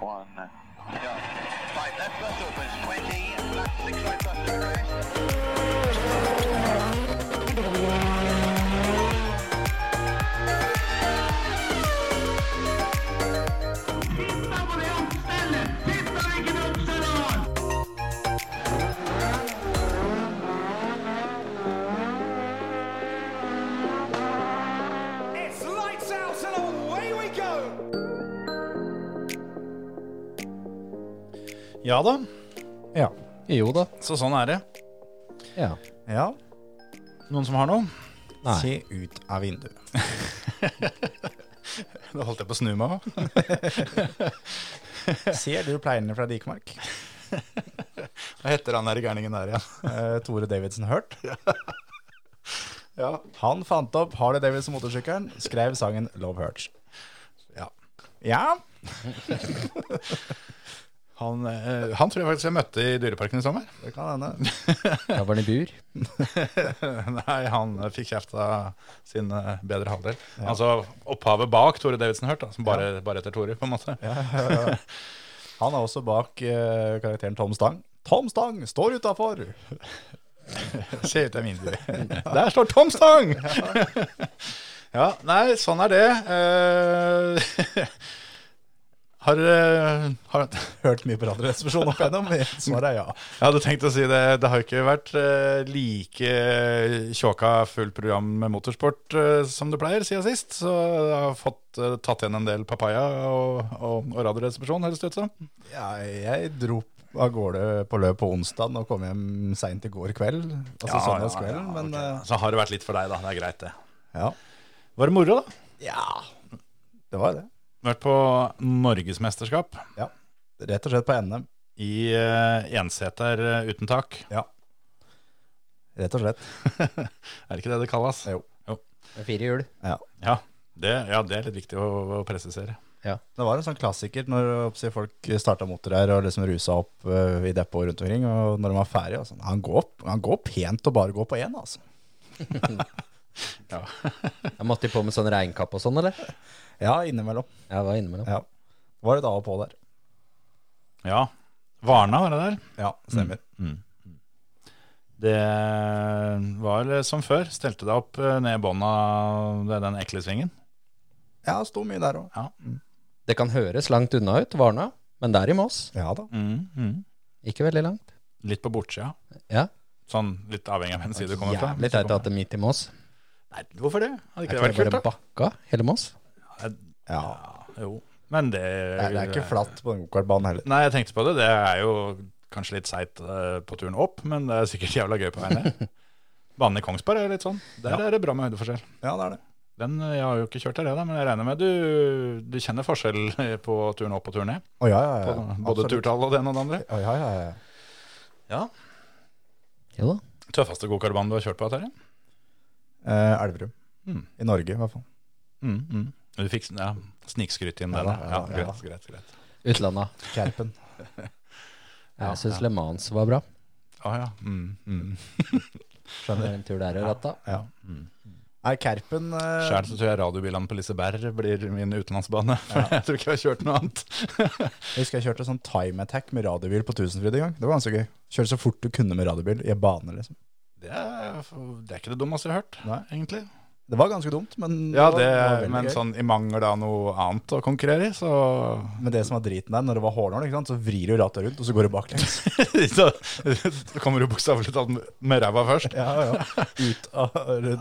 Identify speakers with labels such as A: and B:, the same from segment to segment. A: one. Go. Right, left bus opens 20, left six right bus to crest.
B: It's lights out and away we go!
C: Ja da,
D: Ja. Jo da.
C: så sånn er det.
D: Ja.
C: Ja. Noen som har noe?
D: Nei.
E: Se ut av vinduet.
C: Da holdt jeg på å snu meg. også.
E: Ser du pleierne fra Dikemark?
C: Hva heter han der gærningen der igjen?
E: Eh, Tore Davidsen Hurt. Han fant opp Harley Davidson motorsykkelen, skrev sangen Love Hurts.
C: Ja.
E: Ja,
C: Han, eh, han tror jeg faktisk jeg møtte i Dyreparken i sommer.
E: det kan hende.
D: Da var den i bur.
C: Nei, han eh, fikk kjeft av sin eh, bedre halvdel. Altså opphavet bak Tore Davidsen Hurt, da, som bare, bare heter Tore, på en måte.
E: Han er også bak eh, karakteren Tom Stang. Tom Stang står utafor!
C: Se ut av vinduet. Der står Tom Stang! Ja, nei, sånn er det. Eh, har, eh, har
E: Hørt mye på Radioresepsjonen opp igjennom. Svaret er ja.
C: Jeg hadde tenkt å si det. Det har jo ikke vært eh, like tjåka fullt program med motorsport eh, som det pleier siden sist. Så jeg har fått eh, tatt igjen en del papaya og, og, og radioresepsjon, høres det ut som.
E: ja. Jeg dro av gårde på løp på onsdag og kom hjem seint i går kveld. Altså søndagskvelden, men eh,
C: Så har det vært litt for deg, da. Det er greit, det.
E: ja.
C: Var det moro, da?
E: Ja, det var det.
C: Vært på norgesmesterskap
E: Ja. Rett og slett på NM.
C: i uh, enseter eh, uten tak.
E: Ja. Rett og slett.
C: Er det ikke det det kalles?
E: Jo.
D: Med fire hjul.
E: Ja.
C: Ja, det, ja, det er litt viktig å, å presisere.
E: Det var en sånn klassiker når oppsi, folk starta motor her og liksom rusa opp eh, i depot rundt omkring. Og når de var ferdige, altså, han, går, han går pent og bare går på én, altså.
D: Jeg måtte de på med sånn regnkapp og sånn, eller?
E: Ja, innimellom.
D: Jeg var innimellom.
E: Ja. Det var litt av og på der.
C: Ja. Varna, var det der? Mm.
E: Ja, stemmer.
C: Det var som før. Stelte deg opp eh, ned i bånn av det- den ekle svingen.
E: Ja, det sto mye der òg.
D: Det kan høres langt unna ut, Varna, men det er i Moss.
E: Ja da.
D: Ikke veldig langt.
C: Mm, Litt på bortsida.
D: Ja.
C: Sånn litt avhengig av hvilken side du kommer fra.
D: Jævlig teit at det er midt i Moss.
C: Nei, hvorfor det?
D: Er
C: Hadde ikke det
D: ikke
C: vært
D: det
C: kult,
D: bare
C: da?
D: bakka, hele Moss?
E: Ja.
C: Ja, jo. Men det
E: Det er, det er ikke flatt på den gokartbanen heller.
C: Nei, jeg tenkte på det. Det er jo kanskje litt seigt eh, på turen opp, men det er sikkert jævla gøy på vei ned. Banen i Kongsberg er litt sånn. Der er det bra med høydeforskjell.
E: Ja, det er det.
C: Den, eh, jeg har jo ikke kjørt der, jeg, da, men jeg regner med du, du kjenner forskjell eh, på turen opp og turen ned?
E: Å ja, ja,
C: På
E: ja.
C: både
E: Absolutt.
C: turtall og det ene og det andre?
E: Å, ja, ja, ja.
C: Ja.
D: Jo da.
C: Tøffeste gokartbanen du har kjørt på, Terje?
E: Eh, Elverum.
C: Mm.
E: I Norge, i hvert fall.
C: Mm, mm. Du fikk ja, snikskryt inn
E: Ja
C: der.
E: da,
C: da.
E: ja
C: Ja,
E: da, ja
C: greit, greit, greit.
D: Utlandet.
E: Kerpen.
D: Jeg syns Le Mans var bra.
C: Ah, ja. mm, mm.
D: Det var en tur der og ratta.
E: Ja. Nei, Kerpen eh,
C: Sjæl så tror jeg radiobilene på Liseberg blir min utenlandsbane. For jeg tror ikke jeg har kjørt noe annet.
E: Jeg husker jeg kjørte sånn time attack med radiobil på Tusenfryd en gang. Det var ganske gøy. Kjøre så fort du kunne med radiobil i en bane, liksom.
C: det, er, det er ikke det dummeste jeg har hørt,
E: Nei.
C: egentlig.
E: Det var ganske dumt, men
C: Ja,
E: var-
C: det,
E: var veldig
C: Men
E: gøy.
C: sånn i mangel av noe annet å konkurrere i, så,
E: Men det som var driten der, når det var hårnål, ikke sant, så vrir du rattet rundt, og så går du baklengs.
C: så så kommer du bokstavelig talt med ræva først.
E: Ja, ja. Ut av,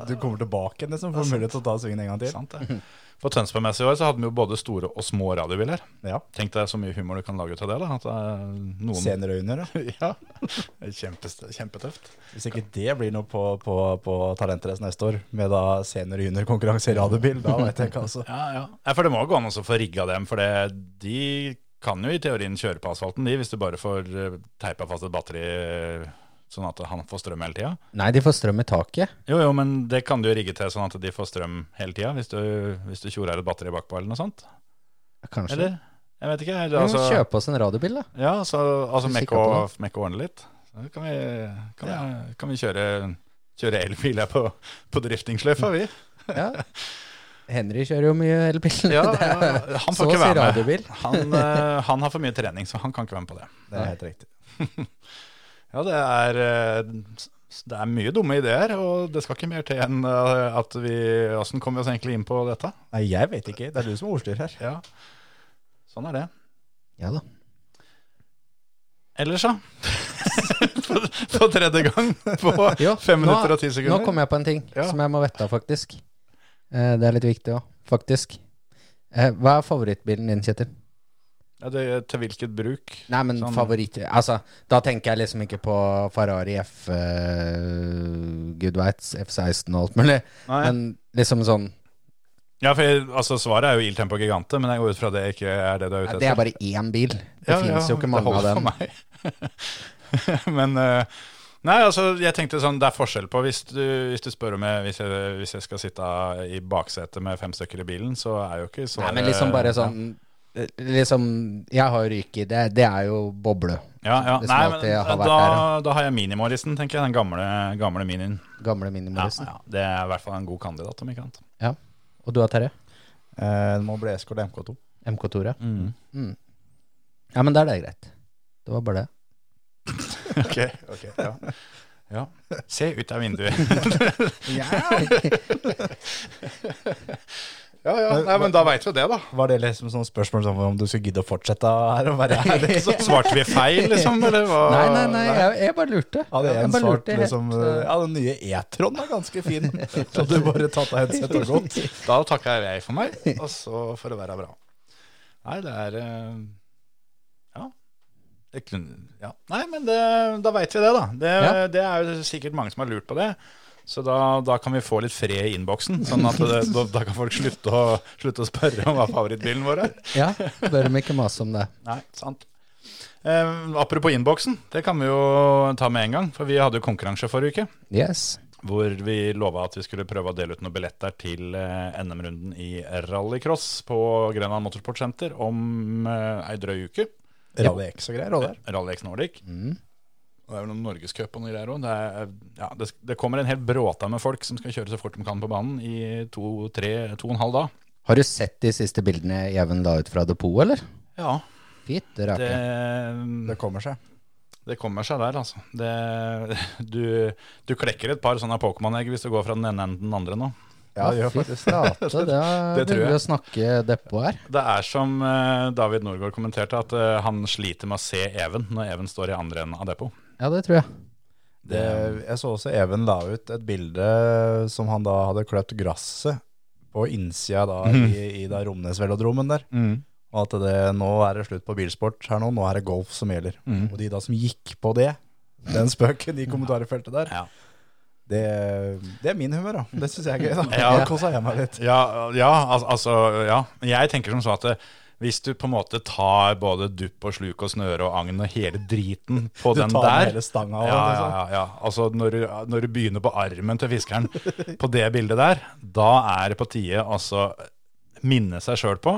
E: du kommer tilbake igjen, liksom, får mulighet til å ta svingen en gang til.
C: Sant, det. For Tønsberg-messig i år så hadde vi jo både store og små radiobiler.
E: Ja.
C: Tenk deg så mye humor du kan lage ut av det. da At det er noen
E: Seniorøyne, da.
C: Ja, det er kjempest- kjempetøft.
E: Hvis ikke det blir noe på, på, på Talentrace neste år, med da senior- og juniorkonkurranse i radiobil, da vet jeg ikke, altså.
C: Ja, ja. Nei, for det må jo gå an også å få rigga dem, for det, de kan jo i teorien kjøre på asfalten, de, hvis du bare får eh, teipa fast et batteri eh, sånn at han får strøm hele tida.
D: Nei, de får strøm i taket.
C: Jo, jo, men det kan du jo rigge til sånn at de får strøm hele tida, hvis du, hvis du tjorer et batteri bakpå eller noe sånt.
D: Kanskje.
C: Eller? Jeg vet ikke.
D: Vi
C: Eller,
D: må
C: altså,
D: kjøpe oss en radiobil, da.
C: ja, så, altså
D: Vi kikker
C: mekke og, mekke og ordne litt. Så kan vi, kan vi, kan vi kjøre, kjøre elbil her på, på driftingsløyfa, vi.
D: Ja. Henry kjører jo mye elbil.
C: Ja,
D: Det er-
C: ja, han
D: så
C: får
D: å
C: ikke
D: si
C: være med.
D: radiobil.
C: Han, eh, han har for mye trening, så han kan ikke være med på det.
E: Det er helt riktig.
C: Ja, det er, eh, s- det er mye dumme ideer, og det skal ikke mer til enn eh, at vi Åssen kom vi oss egentlig inn på dette?
E: Nei, jeg vet ikke. Det er du som er ordstyrer her.
C: Ja, sånn er det.
D: Ja da.
C: Ellers, da? for, for tredje gang på
D: Jo,
C: fem
D: nå-
C: minutter og ti sekunder.
D: Nå kom jeg på en ting
C: Ja.
D: som jeg må vette av, faktisk. Eh, det er litt viktig òg, faktisk. Eh, hva er favorittbilen din, Kjetil?
C: ja, det, til hvilket bruk?
D: Nei, men
C: Sånn.
D: favoritt Altså, da tenker jeg liksom ikke på Ferrari F eh, Gud veits, F16 og alt mulig.
C: Nei.
D: Men liksom sånn
C: Ja, for jeg, altså, Svaret er jo Il Tempo Gigante, men jeg går ut fra det ikke er det du er
D: ja,
C: ute etter.
D: Det er bare én bil. Det
C: Ja,
D: finnes
C: ja,
D: jo ikke mange av dem.
C: Det holder for meg. Men eh, Nei, altså, jeg tenkte sånn, det er forskjell på Hvis du, hvis du spør meg hvis jeg, hvis jeg skal sitte i baksetet med fem stykker i bilen, så er jo ikke
D: Nei,
C: svaret
D: men liksom bare sånn eh, Liksom, jeg har jo ryk i det, det er jo boble.
C: ja, ja.
D: det som
C: Nei, men
D: alltid har vært
C: da,
D: her,
C: da har jeg Mini-Morrisen, tenker jeg. Den gamle, gamle Minien.
D: Gamle
C: Ja,
D: minimorisen. Ja,
C: ja, det er i hvert fall en god kandidat, om ikke annet.
D: Og du har Terje?
E: Eh, det må bli Escort MK2.
D: MK Tore? Mm. Ja, men da er det greit. Det var bare det.
C: Ok, ok, ja. ja. Se ut av vinduet. ja, ja, nei, men da veit vi det, da.
E: Var det liksom sånn spørsmål som om du skulle gidde å fortsette her og være her? Liksom?
C: Svarte vi feil, liksom? Eller hva?
D: Nei, nei, nei, jeg, jeg bare lurte.
E: Hadde
D: jeg
E: en
D: bare
E: svart
D: lurte helt,
E: liksom
D: eh,
E: Ja, den nye E-tron er ganske fin. Så hadde du bare tatt av headset og gått.
C: Da takker jeg for meg, og så får det være bra. Nei, det er eh, Ja. Det kunne, ja. Nei, men det, da veit vi det, da. Det,
D: Ja.
C: det er jo sikkert mange som har lurt på det. Så da, da kan vi få litt fred i innboksen, sånn at det, da, da kan folk slutte å, slutte å spørre om hva favorittbilen vår er.
D: Ja, bør de ikke mase om det.
C: Nei, sant. Eh, apropos innboksen, det kan vi jo ta med en gang. For vi hadde jo konkurranse forrige uke.
D: Yes.
C: Hvor vi lova at vi skulle prøve å dele ut noen billetter til eh, NM-runden i rallycross på Grenland Motorsportsenter om eh, ei drøy uke. Eh,
E: Rally X og greier. Og der.
C: Rally X Nordic.
D: Mm.
C: Og Det er vel noen norgescup og noe greier òg. Det, er, ja, det, det kommer en hel bråta med folk som skal kjøre så fort de kan på banen i to, tre, to og en halv dag.
D: Har du sett de siste bildene Even la ut fra depot, eller?
C: Ja,
D: Fitte rake.
C: det,
E: Det kommer seg.
C: det kommer seg der, altså. Det, du, du klekker et par sånne Pokémon-egg hvis du går fra den ene enden til den andre nå.
E: Ja, det altså. gjør
D: fy flate, da
C: Det tror
D: begynner
C: jeg.
D: vi å snakke depot her.
C: Det er som eh, David Norgård kommenterte, at eh, han sliter med å se Even når Even står i andre enden av depot.
D: Ja, det tror jeg.
E: Det, Eh, jeg så også Even la ut et bilde som han da hadde kløpt gresset på innsida da, i, i da Romnes-velodromen der. Og at det, nå er det slutt på bilsport her nå, nå er det golf som gjelder. Og de da som gikk på det, den spøken i kommentarfeltet der,
C: Ja.
E: det, det er min humør, da. Det syns jeg er gøy. da.
C: Ja.
E: Da koser jeg meg litt.
C: Ja, ja al altså ja. Jeg tenker som så at eh, hvis du på en måte tar både dupp og sluk og snøre og agn og hele driten på
E: Du
C: den
E: tar med
C: der
E: hele stanga og
C: ja,
E: alt,
C: ja,
E: liksom.
C: ja, ja. Altså når du, når du begynner på armen til fiskeren på det bildet der, da er det på tide å altså, minne seg sjøl på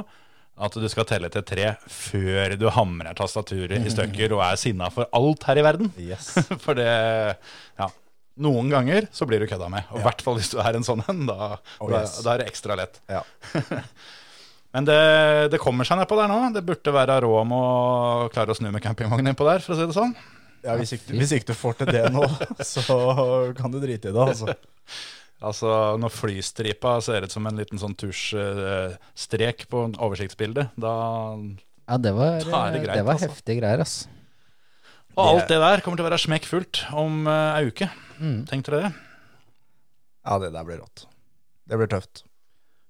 C: at du skal telle til tre før du hamrer tastaturet i stykker og er sinna for alt her i verden.
E: Yes.
C: For det Ja. Noen ganger så blir du kødda med. Og i hvert fall hvis du er en sånn en. Da,
E: Oh,
C: da,
E: yes.
C: da er det ekstra lett.
E: Ja.
C: Men det, det kommer seg nedpå der nå. Det burde være råd om å klare å snu med campingvognen innpå der, for å si det sånn.
E: Ja, hvis ikke, hvis ikke du får til det nå, så kan du drite i det, altså.
C: Altså Når flystripa ser ut som en liten sånn tusjstrek på en oversiktsbildet, da
D: Ja, det var,
C: Da er det
D: eh,
C: greit,
D: det var
C: altså.
D: heftige greier, ass.
C: Og alt det der kommer til å være smekkfullt om uh, ei uke.
D: Mm.
C: Tenk dere det.
E: Ja, det der blir rått. Det blir tøft.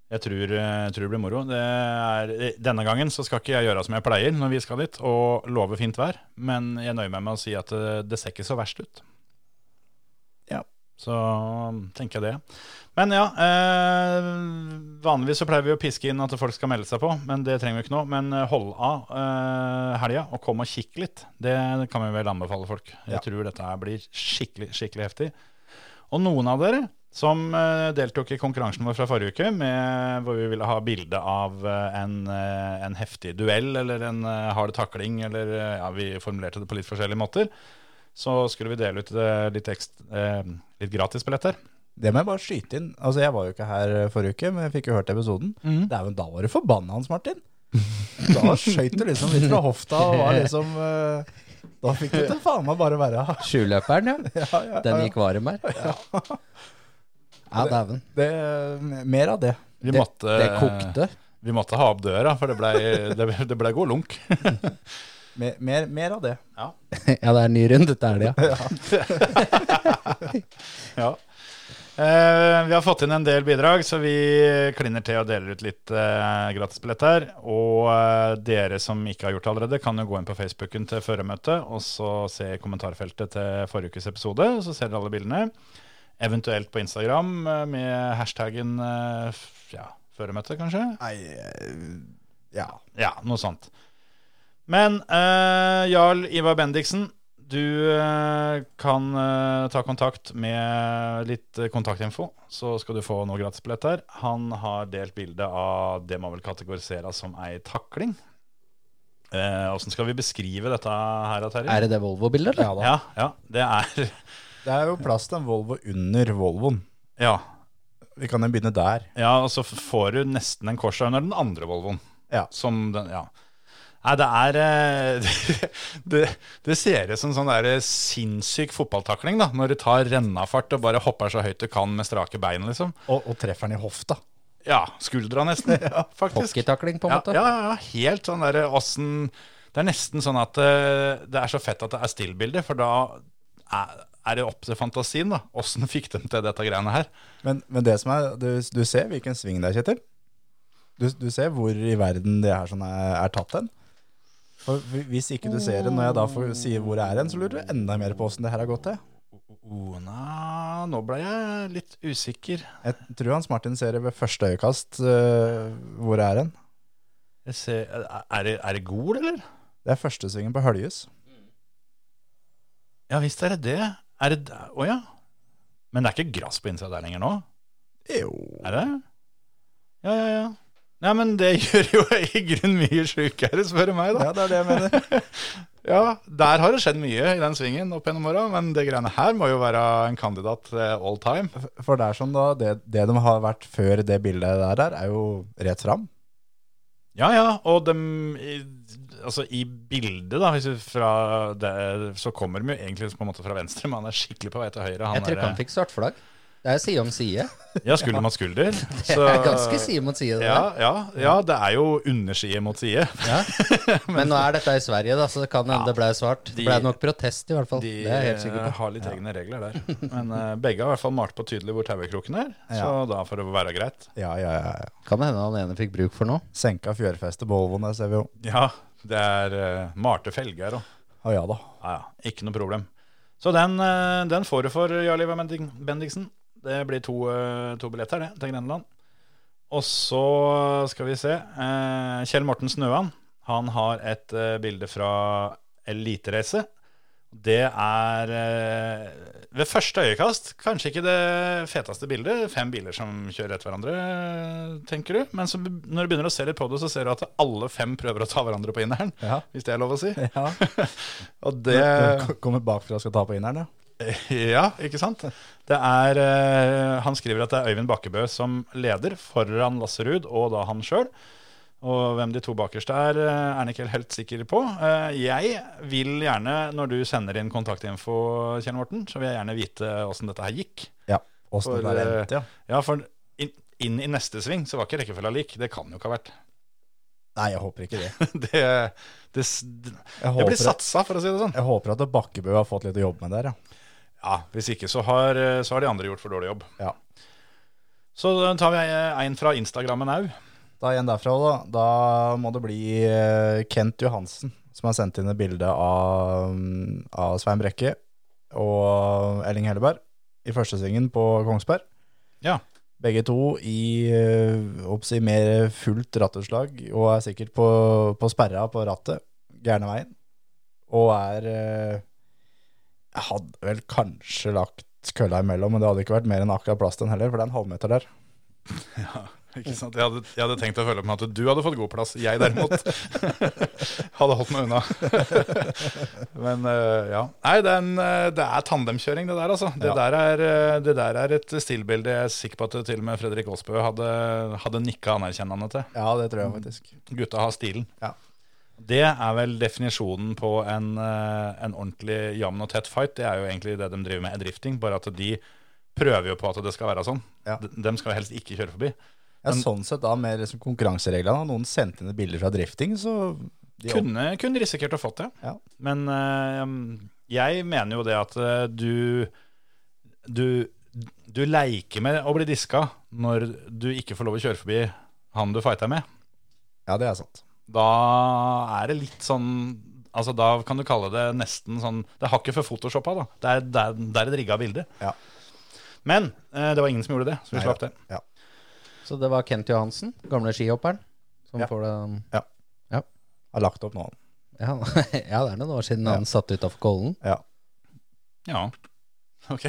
C: Jeg tror, eh, jeg tror det blir moro. Det er, denne gangen så skal ikke jeg gjøre som jeg pleier når vi skal dit, og love fint vær. Men jeg nøyer meg med å si at det, det ser ikke så verst ut.
E: Ja.
C: Så tenker jeg det. Men ja, eh, vanligvis så pleier vi å piske inn at folk skal melde seg på, men det trenger vi ikke nå. Men eh, hold av eh, helga og kom og kikk litt. Det kan vi vel anbefale folk. Jeg
E: Ja.
C: tror dette her blir skikkelig, skikkelig heftig. Og noen av dere som eh, deltok i konkurransen vår fra forrige uke, med, hvor vi ville ha bilde av eh, en, eh, en heftig duell eller en eh, hard takling, eller eh, ja, vi formulerte det på litt forskjellige måter, så skulle vi dele ut eh, litt, ekstra, eh, litt gratisbilletter.
E: Det må jeg bare skyte inn. Altså, Jeg var jo ikke her eh, forrige uke, men jeg fikk jo hørt episoden. Det er jo Da var du forbanna hans, Martin! Da skøyt du liksom litt fra hofta og var liksom eh, Da fikk du til faen meg bare være
D: Sjuløperen, ja.
E: ja, ja,
D: Den
E: ja.
D: gikk varm her. Ja, dæven.
E: Det, mer av det.
C: Vi
D: eh, Det,
C: måtte,
D: det kokte.
C: Vi måtte ha opp døra, for det blei det, det ble god lunk.
E: Mer, mer, mer av det.
D: Ja, det er en ny runde. Dette er det, ja.
C: Ja. Eh, vi har fått inn en del bidrag, så vi klinner til og deler ut litt eh, gratisbillett her. Og eh, dere som ikke har gjort det allerede, kan jo gå inn på Facebooken til førermøtet og så se i kommentarfeltet til forrige ukes episode, så ser dere alle bildene. Eventuelt på Instagram eh, med hashtaggen eh, f- ja, førermøtet, kanskje?
E: Nei, eh, ja.
C: Ja, noe sånt. Men eh, Jarl Ivar Bendiksen, du eh, kan eh, ta kontakt med litt eh, kontaktinfo, så skal du få noe gratisbillett her. Han har delt bilde av det man vil kategorisere som ei takling. Eh, Åssen skal vi beskrive dette her, Terje?
D: Er det det Volvo-bildet, eller?
C: ja, ja, det er
E: Det er jo plass til en Volvo under Volvoen.
C: Ja.
E: Vi kan jo begynne der.
C: Ja, og så får du nesten en Corsa under den andre Volvoen.
E: Ja.
C: Som den, ja. Nei, det er eh, Det, det ser ut som sånn der sinnssyk fotballtakling, da. Når du tar rennafart og bare hopper så høyt du kan med strake bein, liksom.
E: Og, og treffer den i hofta.
C: Ja, skuldra nesten, faktisk.
D: Hockeytakling, på en
C: Ja,
D: måte.
C: ja, ja, helt sånn derre åssen Det er nesten sånn at eh, det er så fett at det er stillbilde, for da er, er det opp til fantasien, da. Åssen fikk de til dette greiene her?
E: Men, men det som er, du, du ser hvilken sving det er, Kjetil. Du, du ser hvor i verden det her sånn er, er tatt hen. For hvi- hvis ikke du ser det, når jeg da får si hvor det er hen, så lurer du enda mer på åssen det her har gått til.
C: Oh, na, nå ble jeg litt usikker.
E: Jeg tror Hans Martin ser det ved første øyekast øh, hvor det er hen.
C: Jeg ser, er, det, er det Gol, eller?
E: Det er førstesvingen på Høljes.
C: Ja visst er det det. Er det Å ja. Men det er ikke gress på innsida der lenger nå?
E: Jo.
C: Er det? Ja, ja, ja. Nei, men det gjør jo i grunnen mye sjukere, spør du meg, da.
E: Ja, det er det jeg mener.
C: Ja, der har det skjedd mye i den svingen opp gjennom åra, men det greiene her må jo være en kandidat eh, all time.
E: For det er sånn da, det, det de har vært før det bildet der er, er jo rett fram.
C: Ja, ja, og dem i, Altså, i bildet, da, hvis du fra det, så kommer de jo egentlig på en måte fra venstre, men han er skikkelig på vei til høyre. Han
D: Jeg tror ikke
C: er,
D: han fikk svartflagg. Det er side om side.
C: Ja, skulder mot skulder.
D: Det er ganske side mot side. det
C: Ja,
D: der.
C: ja, ja, det er jo underside mot side.
D: Men nå er dette i Sverige, da, så det kan hende det ble svart.
C: de-
D: Det ble nok protest, i hvert fall.
C: De
D: det er jeg helt sikker på.
C: eh, har litt egne regler der. Men eh, begge har i hvert fall malt på tydelig hvor tauekroken er, så da får det være greit.
E: Ja, ja, ja. ja.
D: Kan hende han ene fikk bruk for noe.
E: Senka fjørfestet på Volvoen, der ser vi jo.
C: Ja, det er eh, malte felger og
E: Å ja da.
C: ja, ja, ikke noe problem. Så den, eh, den får du for Jarl Ivar Bendik- Bendiksen. Det blir to, eh, to billetter, det, til Grenland. Og så skal vi se. eh, Kjell Morten Snøan han har et eh, bilde fra Elitereise. Det er eh, ved første øyekast kanskje ikke det feteste bildet. Fem biler som kjører etter hverandre, eh, tenker du. Men så, be- når du begynner å se litt på det, så ser du at alle fem prøver å ta hverandre på inneren.
E: Ja.
C: Hvis det er lov å si.
E: Ja.
C: Og
E: Det
C: det
E: kommer bakfra og skal ta på inneren, ja.
C: Ja, ikke sant? Det er, eh, han skriver at det er Øyvind Bakkebø som leder foran Lasse Ruud og da han sjøl. Og hvem de to bakerste er, eh, er han ikke helt sikker på. Eh, Jeg vil gjerne, når du sender inn kontaktinfo, Kjell Morten, så vil jeg gjerne vite åssen dette her gikk.
E: Ja. Åssen
C: For,
E: det der
C: eh,
E: endte, ja.
C: Ja, for inn, inn i neste sving så var ikke rekkefølga lik. Det kan jo ikke ha vært.
E: Nei, jeg håper ikke det.
C: Det, det, s-
E: Jeg
C: det
E: håper,
C: blir satsa, for å si det sånn.
E: jeg håper at Bakkebø har fått litt å jobbe med der, ja.
C: Ja, Hvis ikke så har, eh, så har de andre gjort for dårlig jobb.
E: Ja.
C: Så da tar vi eh, en fra Instagrammen òg.
E: Da igjen derfra, da. Da må det bli eh, Kent Johansen som har sendt inn et bilde av, mm, av Svein Brekke og Elling Helleberg i førstesvingen på Kongsberg.
C: Ja.
E: Begge to i eh, oppsi, mer fullt rattutslag og er sikkert på, på sperra på rattet, gærne veien. Og er eh, Jeg hadde vel kanskje lagt kølla imellom, men det hadde ikke vært mer enn akkurat plass til den heller, for det er en halvmeter der.
C: Ikke sant? Jeg, hadde, jeg hadde tenkt å følge opp med at du hadde fått god plass. Jeg derimot hadde holdt meg unna. Men eh, ja. Nei, det er, en, eh, det er tandemkjøring, det der, altså. Det,
E: Ja.
C: der er, eh, det der er et stillbilde jeg er sikker på at til og med Fredrik Aasbø hadde, hadde nikka anerkjennende til.
E: Ja, det tror jeg faktisk.
C: Gutta har stilen.
E: Ja.
C: Det er vel definisjonen på en, eh, en ordentlig jevn og tett fight. Det er jo egentlig det de driver med er drifting, bare at de prøver jo på at det skal være sånn.
E: Ja.
C: De, dem skal jo helst ikke kjøre forbi.
E: Ja, sånn sett da, med liksom konkurransereglene. Noen sendte inn bilder fra drifting, så de
C: Kunne, kunne risikert å fått det.
E: Ja.
C: Men eh, jeg mener jo det at eh, du, du Du leker med å bli diska når du ikke får lov å kjøre forbi han du fighter med.
E: Ja, det er sant.
C: Da er det litt sånn Altså Da kan du kalle det nesten sånn Det er hakket for photoshoppa, da. Det er, det er, det er et rigga bilde.
E: Ja.
C: Men eh, det var ingen som gjorde det, så vi
E: Nei,
C: slapp det.
E: Ja.
D: Så det var Kent Johansen, gamle skihopperen, som
E: Ja.
D: får det
E: Har lagt opp nå.
D: ja, ja, det er noen år siden han satt utafor Kollen.
E: Ja.
C: Ja. Ok.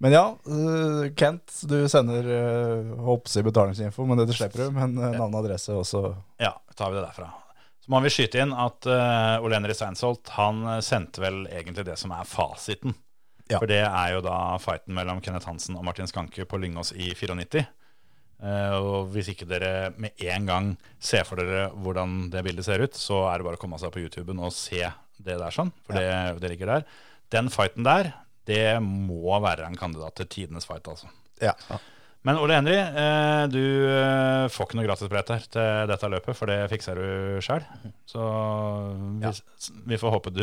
E: Men ja, øh, Kent, du sender øh, håper jeg å si betalingsinfo, men dette slipper du. Men øh, navn og adresse også.
C: Ja, tar vi det derfra. Så må vi skyte inn at uh, Olenery Steinsholt han eh, sendte vel egentlig det som er fasiten.
E: Ja.
C: For det er jo da fighten mellom Kenneth Hansen og Martin Skanke på Lyngås i 94. Eh, og hvis ikke dere med en gang ser for dere hvordan det bildet ser ut, så er det bare å komme seg på YouTuben og se det der sånn, for det, det ligger der. Den fighten der, det må være en kandidat til tidenes fight, altså.
E: Ja.
C: Men Ole Henry, eh, du eh, får ikke noe gratisbillett her til dette løpet, for det fikser du sjøl. Så vi, vi får håpe du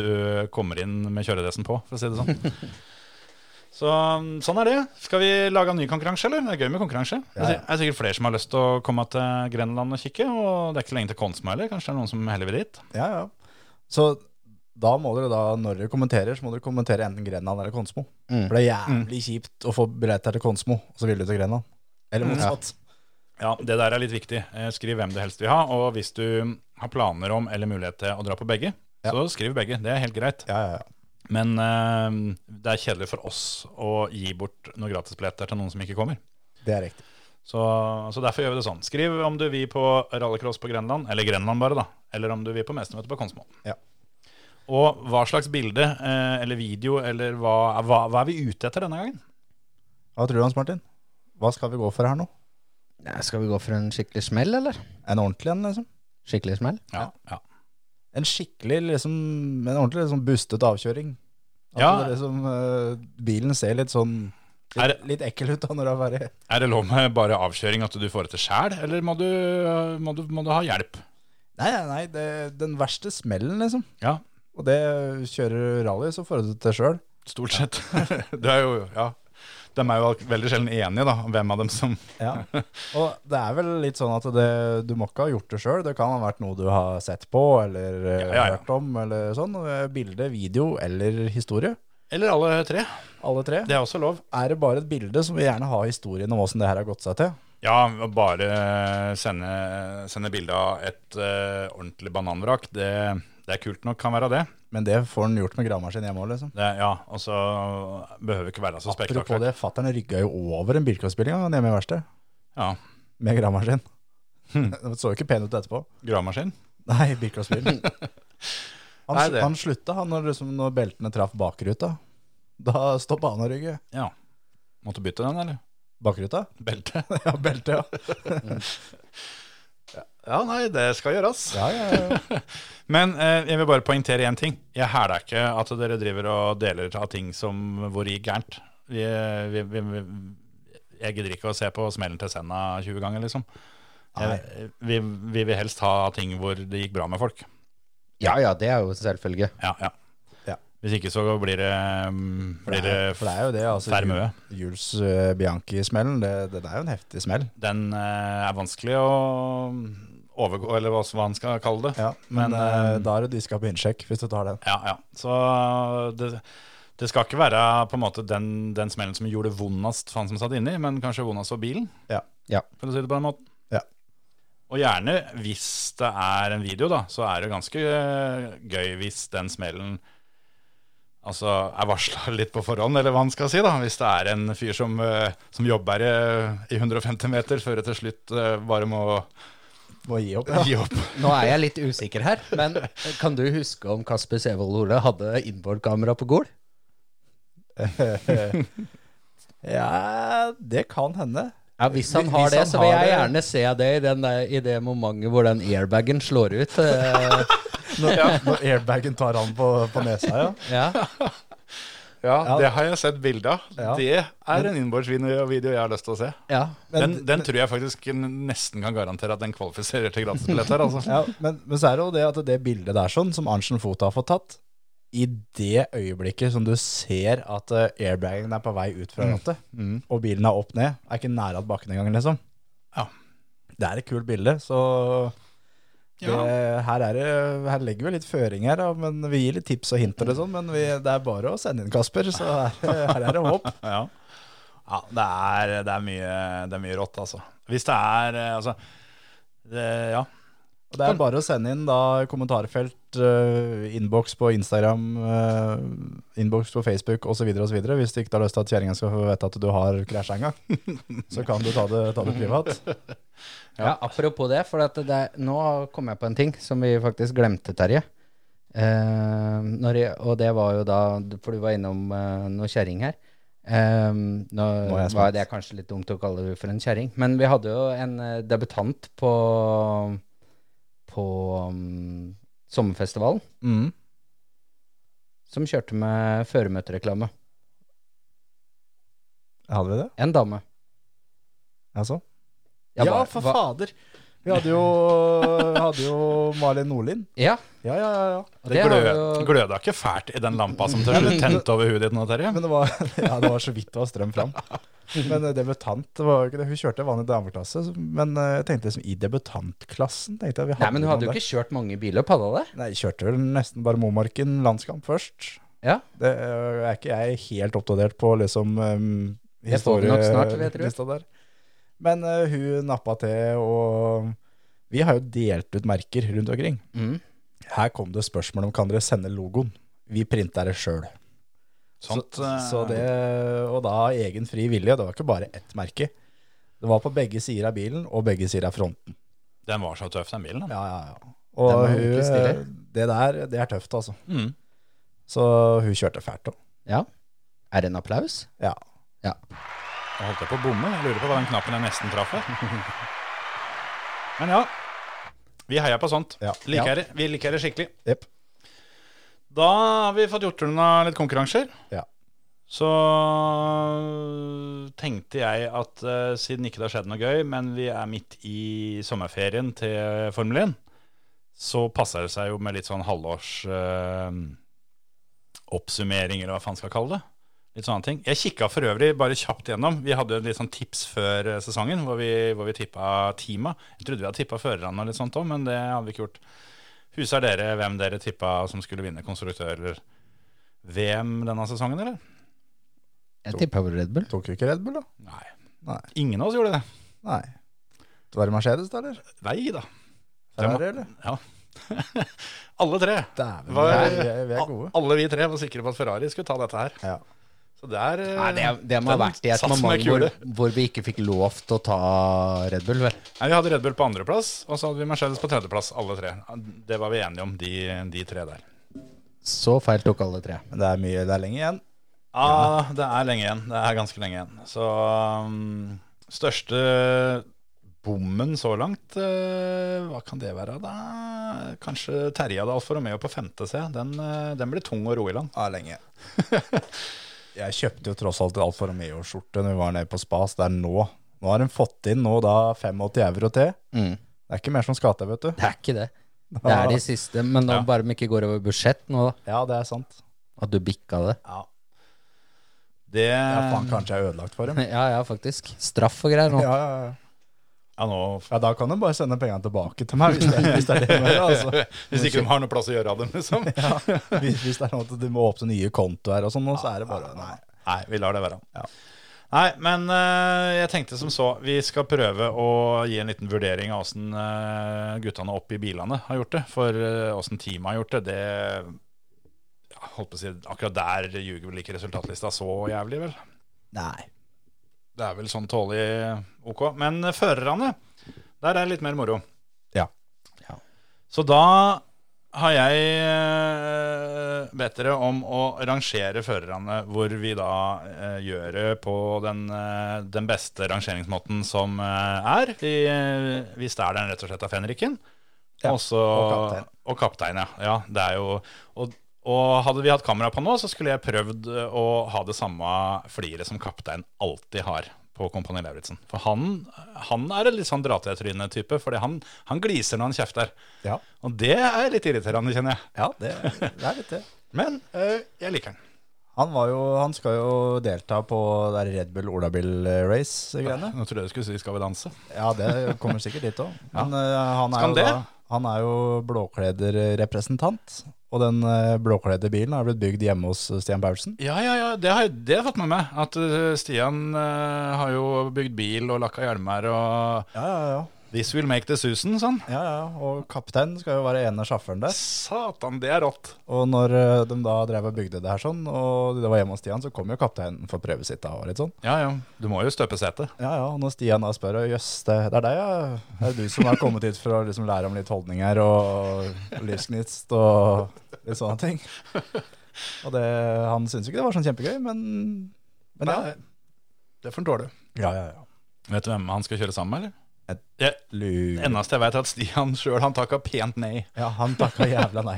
C: kommer inn med kjøredressen på, for å si det sånn. Så mm, sånn er det. Skal vi lage en ny konkurranse, eller? Det er gøy med konkurranse. Det er sik- er sikkert flere som har lyst til å komme til Grenland og kikke, og det er ikke lenge til Konsma heller. Kanskje det er noen som heller vil dit.
E: ja, ja. Så da må dere da, når dere kommenterer, så må dere kommentere enten Grenland eller Konsmo.
D: Mm.
E: For det er jævlig kjipt å få billetter til Konsmo, og så vil du til Grenland. Eller motsatt.
C: Ja, det der er litt viktig. Eh, Skriv hvem du helst vil ha, og hvis du har planer om eller mulighet til å dra på begge,
E: Ja.
C: så skriv begge. Det er helt greit.
E: Ja, ja, ja.
C: Men eh, det er kjedelig for oss å gi bort noen gratisbilletter til noen som ikke kommer.
E: Det er riktig.
C: Så, så derfor gjør vi det sånn. Skriv om du vil på rallycross på Grenland, eller Grenland bare, da. Eller om du vil på mestermøtet på Konsmo.
E: Ja.
C: Og hva slags bilde eh, eller video eller hva, hva, hva er vi ute etter denne gangen?
E: Hva tror du, Hans Martin? Hva skal vi gå for her nå?
D: Ja, skal vi gå for en skikkelig smell, eller?
E: En ordentlig en, liksom?
D: Skikkelig smell?
C: Ja, ja.
E: En skikkelig, liksom, en ordentlig liksom bustet avkjøring. At
C: Ja.
E: det liksom, eh, bilen ser litt sånn
C: Er
E: litt,
C: det-
E: litt ekkel ut da når det er ferdig.
C: Er det lov med bare avkjøring at du får det til sjæl, eller må du, må, du, må du ha hjelp?
E: Nei, nei, nei det, den verste smellen, liksom.
C: Ja,
E: Og det kjører du rally, så får du det til sjøl.
C: stort sett. det er jo, ja. De er jo veldig sjelden enige, da, hvem av dem som
E: Ja. Og det er vel litt sånn at det, du må ikke ha gjort det sjøl. Det kan ha vært noe du har sett på eller eh,
C: Ja, ja, ja.
E: hørt om. eller sånn. Eh, Bilde, video eller historie.
C: Eller alle tre.
E: Alle tre.
C: Det er også lov.
E: Er det bare et bilde, så vil vi gjerne ha historien om åssen det her har gått seg til.
C: Ja, bare sende, sende bilde av et eh, ordentlig bananvrak. Det, det er kult nok, kan være det.
E: Men det får han gjort med gravemaskin hjemme òg, liksom.
C: det ja, og så behøver ikke være så
E: Apropos
C: spektakulært.
E: det, fatter'n rygga jo over en bilcrossbil en gang hjemme i verkstedet.
C: Ja,
E: Med gravemaskin.
C: Hmm.
E: Det så jo ikke pen ut etterpå.
C: gravemaskin.
E: Nei, bilcrossbilen. Han,
C: Nei, det-
E: han slutta han når, liksom, når beltene traff bakruta. Da stoppa han å rygge.
C: Ja. Måtte bytte den, eller?
E: Bakruta?
C: Belte?
E: Ja, beltet, ja.
C: Ja, nei, det skal gjøres.
E: Ja, ja, ja.
C: Men eh, jeg vil bare poengtere én ting. Jeg hæler ikke at dere driver og deler av ting som hvor gikk gærent. Vi, vi, vi, vi, jeg gidder ikke å se på smellen til Senna 20 ganger, liksom. Jeg, vi, vi vil helst ha ting hvor det gikk bra med folk.
D: Ja ja, det er jo en selvfølge.
C: Ja, ja.
E: Ja.
C: Hvis ikke så blir det, mm,
E: For
C: blir
E: det
C: det,
E: er, for det er jo det, altså.
C: Fermø.
E: Jules eh, Bianchi-smellen, det, det er jo en heftig smell.
C: Den eh, er vanskelig å mm, overgå, eller hva hva han skal kalle det.
E: Ja, men,
C: Men,
E: eh,
C: eh,
E: da er det diska på innsjekk, hvis du tar den.
C: Ja, ja. Så eh, det, det skal ikke være på en måte den, den smellen som gjorde det vondest for han som satt inni, men kanskje vondest for bilen,
E: Ja.
D: Ja.
C: for å si det på den måten.
E: Ja.
C: Og gjerne, hvis det er en video, da, så er det ganske eh, gøy hvis den smellen altså, er varsla litt på forhånd, eller hva han skal si. da, Hvis det er en fyr som, eh, som jobber i, i 150 meter før det til slutt eh, bare må
E: Må gi opp.
C: gi opp.
D: Nå er jeg litt usikker her, men kan du huske om Kasper Sevold Ole hadde innbordkamera på Gol?
E: Ja, det kan hende.
D: Ja, Hvis han
E: Hvis
D: har det,
E: han
D: så vil
E: har
D: jeg
E: det-
D: gjerne se det i, den der, i det momentet hvor den airbagen slår ut. eh,
E: Når, når airbagen tar han på, på nesa, ja.
D: Ja.
C: Ja,
E: Ja.
C: Det har jeg sett bilde av.
E: Ja.
C: Det er en innbordsvideo video jeg har lyst til å se.
D: ja.
E: Men-
C: Den, den tror jeg faktisk nesten kan garantere at den kvalifiserer til gratisbillett her. altså.
E: ja men, men så er det jo det at det bildet der sånn, som Arntzen Foth har fått tatt, i det øyeblikket som du ser at eh, airbagen er på vei ut fra
C: Mm.
E: rattet, og bilen er opp ned, er ikke nære at bakken engang, liksom.
C: Ja.
E: Det er et kult bilde, så det, her, er det, her legger vi litt føringer, da, men vi gir litt tips og hint og det sånn, men vi, det er bare å sende inn, Kasper, så her, her er det håp.
C: Ja, ja det, er, det, er mye, det er mye rått, altså. Hvis det er eh, Altså, det, ja.
E: Og det er bare å sende inn da kommentarfelt, uh, innboks på Instagram, uh, innboks på Facebook osv. videre hvis du ikke har lyst til at kjerringa skal få vite at du har krasja en gang. Så kan du ta det, ta det privat.
D: ja, apropos det, for at det er, nå kom jeg på en ting som vi faktisk glemte, Terje. Eh, når jeg, og det var jo da For du var innom eh, noe kjerring her. Eh, nå
E: er jeg
D: var
E: spent.
D: det kanskje litt dumt å kalle henne for en kjerring, men vi hadde jo en eh, debutant på På mm, sommerfestivalen
E: Mm.
D: som kjørte med føremøtereklame.
E: Hadde vi det?
D: En dame.
E: Altså?
D: Jeg
E: Ja,
D: bare-
E: for
D: hva-
E: fader! Vi hadde jo, hadde jo Malin Nordlin.
D: Ja,
E: Ja, ja, ja. ja.
D: og
C: Det
D: har
C: glø,
D: jo-
C: gløda ikke fælt i den lampa som til slutt tente over huet ditt nå, Terje?
E: Men det var, ja, det var så vidt det var strøm fram. Men eh, debutant det var jo ikke det. Hun kjørte vanlig dameklasse, så- men eh, jeg tenkte liksom i debutantklassen tenkte jeg vi
D: Nei, men hun
E: noen
D: hadde jo
E: der.
D: ikke kjørt mange billøp, hadde hun det?
E: Nei, jeg kjørte vel nesten bare Momarken landskamp først.
D: Ja.
E: Det øh, er ikke jeg helt oppdatert på liksom um,
D: Det får vi nok snart, vil jeg tro.
E: historielista der. Men øh, hun nappa til, og vi har jo delt ut merker rundt omkring.
D: Mm.
E: Her kom det spørsmål om kan dere sende logoen. Vi printa det sjøl.
C: Sånt,
E: Så,
C: eh,
E: så det, og da av egen fri vilje. Det var ikke bare ett merke. Det var på begge sider av bilen og begge sider av fronten.
C: Den var så tøff, den bilen. Den.
E: Ja, ja, ja. Og
D: Den var
E: hun, eh,
D: ordentlig stilig.
E: det der, det er tøft, altså.
C: Mm.
E: Så hun kjørte fælt òg.
D: Ja. Er det en applaus?
E: Ja.
D: Ja.
C: Jeg holdt jeg på å bomme. Jeg lurer på hva den knappen jeg nesten traff her. Men ja, vi heier på sånt.
E: Ja.
C: Liker det. Vi liker det skikkelig.
E: Jepp.
C: Da har vi fått gjort unna litt konkurranser.
E: Ja.
C: Så øh, tenkte jeg at eh, siden ikke det har skjedd noe gøy, men vi er midt i sommerferien til Formel 1, så passer det seg jo med litt sånn halvårs eh, oppsummering, eller hva faen skal jeg kalle det. Litt sånne ting. Jeg kikka for øvrig bare kjapt gjennom. Vi hadde jo litt sånn tips før eh, sesongen hvor vi, hvor vi tippa teama. Jeg trodde vi hadde tippa førerne og litt sånt òg, men det hadde vi ikke gjort. Husker dere hvem dere tippa som skulle vinne konstruktør-VM denne sesongen, eller?
D: Jeg tipper på Red Bull.
E: Tok jo ikke Red Bull, da?
C: Nei.
E: Nei.
C: Ingen av oss gjorde det.
E: Nei. Det var i Mercedes, da, eller?
C: Nei da.
E: Ferrari, eller?
C: Alle tre.
E: Dæven, vi,
C: Var-
E: er- vi er- vi er gode.
C: Alle vi tre var sikre på at Ferrari skulle ta dette her.
E: Ja.
C: Så det er eh,
D: Nei, det, det må ha
C: den
D: vært i et
C: satsen er
D: moment hvor,
C: kule.
D: hvor vi ikke fikk lov til å ta Red Bull, vel.
C: Nei, Vi hadde Red Bull på andreplass, og så hadde vi Mercedes på tredjeplass, alle tre. Det var vi enige om, de, de tre der.
D: Så feil tok alle tre.
E: Men det er mye, det er lenge igjen.
C: Ja, det er lenge igjen. Det er ganske lenge igjen. Så um, største bommen så langt, eh, hva kan det være da? Kanskje Terje hadde Alfa Romeo på femte C. Den, eh, den blir tung å ro i land.
E: Ja, lenge. Jeg kjøpte jo tross alt en Alfa Romeo-skjorte når vi var nede på spas. Det er nå. Nå har hun fått inn nå da 85 euro til.
D: Mm.
E: Det er ikke mer som skal til, vet du.
D: Det er ikke det. Det er de siste, men nå
C: Ja.
D: bare om ikke går over budsjett nå, da.
E: Ja, det er sant.
D: At du bikka det.
C: Det
E: Ja, faen, kanskje jeg er ødelagt for dem.
D: Ja, ja, faktisk. Straff og greier nå.
E: Ja, ja, ja.
C: Ja, nå
E: ja, da kan du bare sende pengene tilbake til meg, hvis det, hvis det er det du mener. Altså.
C: Hvis ikke de har noe plass å gjøre av dem, liksom.
E: Hvis, hvis det er noe at du må åpne nye kontoer og sånn, nå, så er det bare Nei.
C: Nei, vi lar det være.
E: Ja.
C: Nei, men eh, jeg tenkte som så. Vi skal prøve å gi en liten vurdering av åssen eh, guttene opp i bilene har gjort det. For åssen teamet har gjort det, det ja, holdt på å si, akkurat der ljuger vel ikke resultatlista så jævlig, vel?
E: Nei.
C: Det er vel sånn tålig ok. Men eh, førerne, der er det litt mer moro.
E: Ja.
D: Ja.
C: Så da har jeg eh, bedt dere om å rangere førerne, hvor vi da eh, gjør det på den, eh, den beste rangeringsmåten som eh, er. Vi, eh, vi stjeler den rett og slett av fenriken.
E: Ja,
C: og, så,
E: og kaptein.
C: Og kaptein, ja. ja det er jo, og, og hadde vi hatt kamera på nå, så skulle jeg prøvd eh, å ha det samme fliret som kaptein alltid har på Kompani Lauritzen. For han, han er en litt sånn dra til trynet-type, fordi han, han gliser når han kjefter.
E: Ja,
C: Og det er litt irriterende, kjenner jeg.
E: ja det, det er litt det.
C: Men eh, jeg liker den.
E: Han, var jo, han skal jo delta på det der Red Bull Olabil Race-greiene.
C: Nå trodde jeg du skulle si 'Skal vi danse'.
E: Ja, det kommer sikkert dit òg. Men eh, han,
C: Skal
E: er
C: han
E: jo
C: det?
E: da, han er jo blåklederrepresentant. Og den eh, blåkledde bilen har blitt bygd hjemme hos eh, Stian Paulsen.
C: Ja, ja, ja, det har jeg, det har jeg fått med meg. At eh, Stian eh, har jo bygd bil og lakka hjelmer og
E: Ja, ja, ja.
C: 'This will make the Susan', sånn.
E: ja, ja. Og kapteinen skal jo være ene sjåføren der.
C: Satan, det er rått.
E: Og når eh, de da drev og bygde det her sånn, og det var hjemme hos Stian, så kom jo kapteinen for prøve sitt da, og litt sånn.
C: Ja, ja. Du må jo støpe setet.
E: Ja, ja, og når Stian da spør, «Å, jøss, det, det er deg, ja. Er det du som har kommet hit for å liksom lære om litt holdninger og livsgnist og litt sånne ting? Og det, han syntes ikke det var sånn kjempegøy, men, men ja.
C: Nei, Det får han tåle.
E: Ja, ja, ja.
C: Vet du hvem han skal kjøre sammen med, eller?
E: Et-
C: Jeg,
E: Lur.
C: eneste jeg vet, er at Stian sjøl takka pent nei.
E: Ja, han takka jævla nei.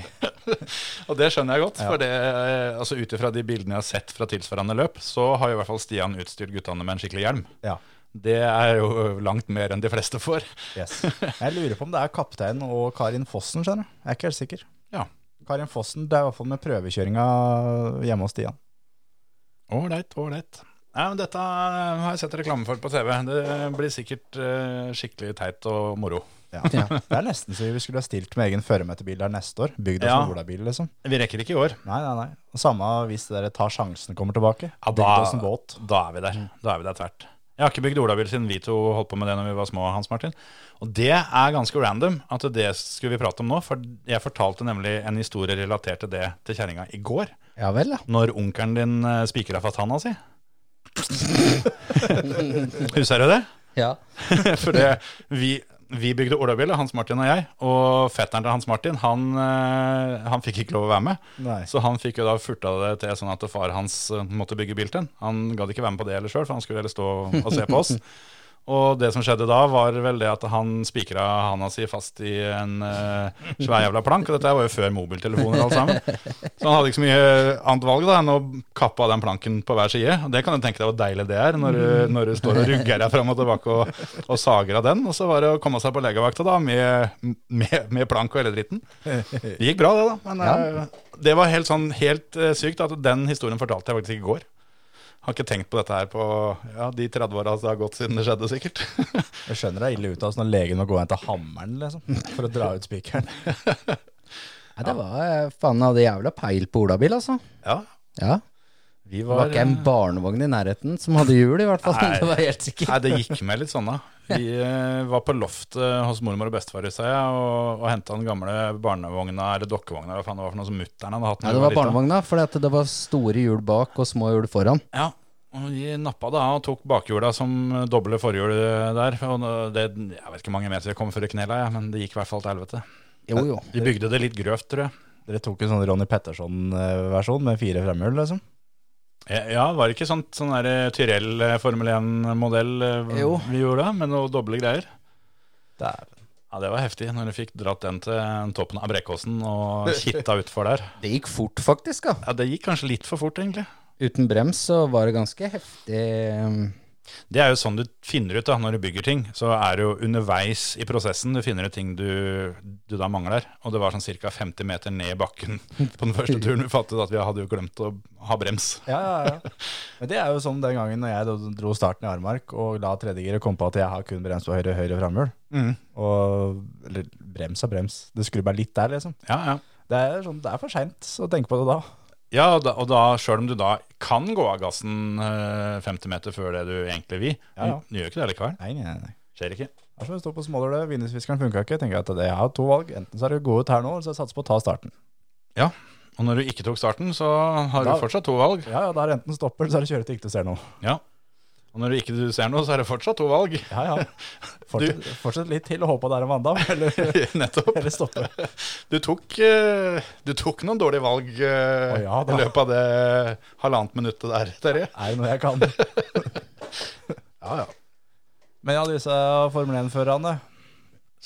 C: Og det skjønner jeg godt.
E: Ja.
C: For det, eh, altså Ut ifra de bildene jeg har sett fra tilsvarende løp, så har jo i hvert fall Stian utstyrt guttene med en skikkelig hjelm.
E: Ja,
C: Det er jo langt mer enn de fleste får.
E: yes. Jeg lurer på om det er kapteinen og Karin Fossen, skjønner du. Jeg er ikke helt sikker.
C: Ja.
E: Karin Fossen, det er i hvert fall med prøvekjøringa hjemme hos Stian.
C: Ålreit, ålreit. Nei, men Dette eh, har jeg sett reklame for på TV. Det blir sikkert eh, skikkelig teit og moro.
E: Ja. Det er nesten så vi skulle ha stilt med egen føremøtebil der neste år. Bygd oss
C: Ja.
E: en olabil, liksom.
C: Vi rekker ikke i år.
E: Nei, nei, nei. Og Samme hvis dere tar sjansen kommer tilbake.
C: Ja,
E: Bygd
C: da,
E: oss en båt.
C: da er vi der. Da er vi der tvert. Jeg har ikke bygd olabil siden vi to holdt på med det når vi var små, Hans Martin. Og det er ganske random at det skulle vi prate om nå, for jeg fortalte nemlig en historie relatert til det til kjerringa i går.
D: Ja vel, da.
C: Når onkelen din eh, spikra fast handa si. Husker du det?
D: Ja.
C: For det, vi, vi bygde olabil, Hans Martin og jeg. Og fetteren til Hans Martin, han, eh, han fikk ikke lov å være med.
E: Nei.
C: Så han fikk jo da furta det til sånn at far hans eh, måtte bygge bil til han. Han gadd ikke være med på det heller sjøl, for han skulle heller stå og se på oss. Og det som skjedde da, var vel det at han spikra handa si fast i en eh, svær jævla plank. Og dette her var jo før mobiltelefoner og alt sammen. Så han hadde ikke så mye annet valg da enn å kappe av den planken på hver side. Og det kan du tenke deg hvor deilig det er når du, når du står og rugger deg fram og tilbake og, og sager av den. Og så var det å komme seg på legevakta da med, med, med plank og hele dritten. Det gikk bra, det, da. Men
D: Ja.
C: eh, det var helt, sånn, helt eh, sykt at den historien fortalte jeg faktisk ikke i går. Har ikke tenkt på dette her på ja, de 30 åra som har gått siden det skjedde, sikkert.
E: Jeg skjønner det er ille ut av oss når legen må gå og hente hammeren liksom, for å dra ut spikeren.
D: Nei, det var eh, faen hadde jævla peil på olabil, altså.
C: ja,
D: Ja.
C: vi
D: Det var
C: var,
D: ikke en barnevogn i nærheten som hadde hjul, i hvert fall.
C: Nei.
D: Det var jeg helt sikkert.
C: Nei, det gikk med litt sånn, da. Vi eh, var på loftet hos mormor og bestefar, sa jeg, og, og henta den gamle barnevogna, eller dokkevogna, hva faen det var for noe som mutter'n hadde hatt. når
D: Ja,
C: vi
D: det var
C: liten.
D: barnevogna, for det var store hjul bak og små hjul foran.
C: Ja, og de nappa da og tok bakhjula som doble forhjul der. Og det, jeg vet ikke hvor mange meter jeg kom før i knela, jeg, men det gikk i hvert fall til helvete.
D: Jo, jo.
C: De bygde det litt grøvt, tror jeg.
E: Dere tok en sånn Ronny Petterson-versjon med fire fremhjul, liksom.
C: Eh, Ja, var det ikke sånt sånn der eh, Tyrell eh, Formel 1-modell eh,
D: Jo.
C: vi gjorde da, med noe doble greier?
E: Det er
C: Ja, det var heftig når du fikk dratt den til toppen av Brekkåsen og kitta utfor der.
D: Det gikk fort, faktisk. da.
C: Ja, det gikk kanskje litt for fort, egentlig.
D: Uten brems så var det ganske heftig um,
C: Det er jo sånn du finner ut da, når du bygger ting. Så er det jo underveis i prosessen du finner ut ting du, du da mangler. Og det var sånn ca. 50 meter ned i bakken på den første turen vi fattet at vi hadde jo glemt å ha brems.
E: Ja, ja, ja. Men det er jo som den gangen når jeg da dro starten i Armark og la tredjegiret komme på at jeg har kun brems på høyre høyre fremhjul. Og, eller brems og brems. Det skulle bare litt der, liksom.
C: Ja, ja.
E: Det er, sånn, det er for seint å tenke på det da.
C: Ja, og da, og da sjøl om du da kan gå av gassen eh, 50 meter før det du egentlig vil,
E: Ja, ja.
C: du gjør ikke det likevel.
E: Nei, nei, nei.
C: Skjer ikke.
E: Det er som å stå på smålølet, vindusviskeren funka ikke. Jeg tenker at det- jeg har to valg. Enten så er det å gå ut her nå, eller så satse på å ta starten.
C: Ja, Og når du ikke tok starten, så har
E: Da-
C: du fortsatt to valg.
E: Ja, ja, da er det enten stopper, eller så er det kjøre til ikke du ser noe.
C: Ja. Og når du ikke du ser noe, så er det fortsatt to valg.
E: Ja, ja. Fortsett, fortsett litt til og håpe det er en vanndam, eller,
C: Nettopp.
E: eller stoppe.
C: Du tok, eh, du tok noen dårlige valg eh,
E: Å, ja da.
C: i løpet av det halvannet minuttet der, Terje.
E: Er det noe jeg kan?
C: Ja, ja.
E: Men ja, disse Formel 1-førerne.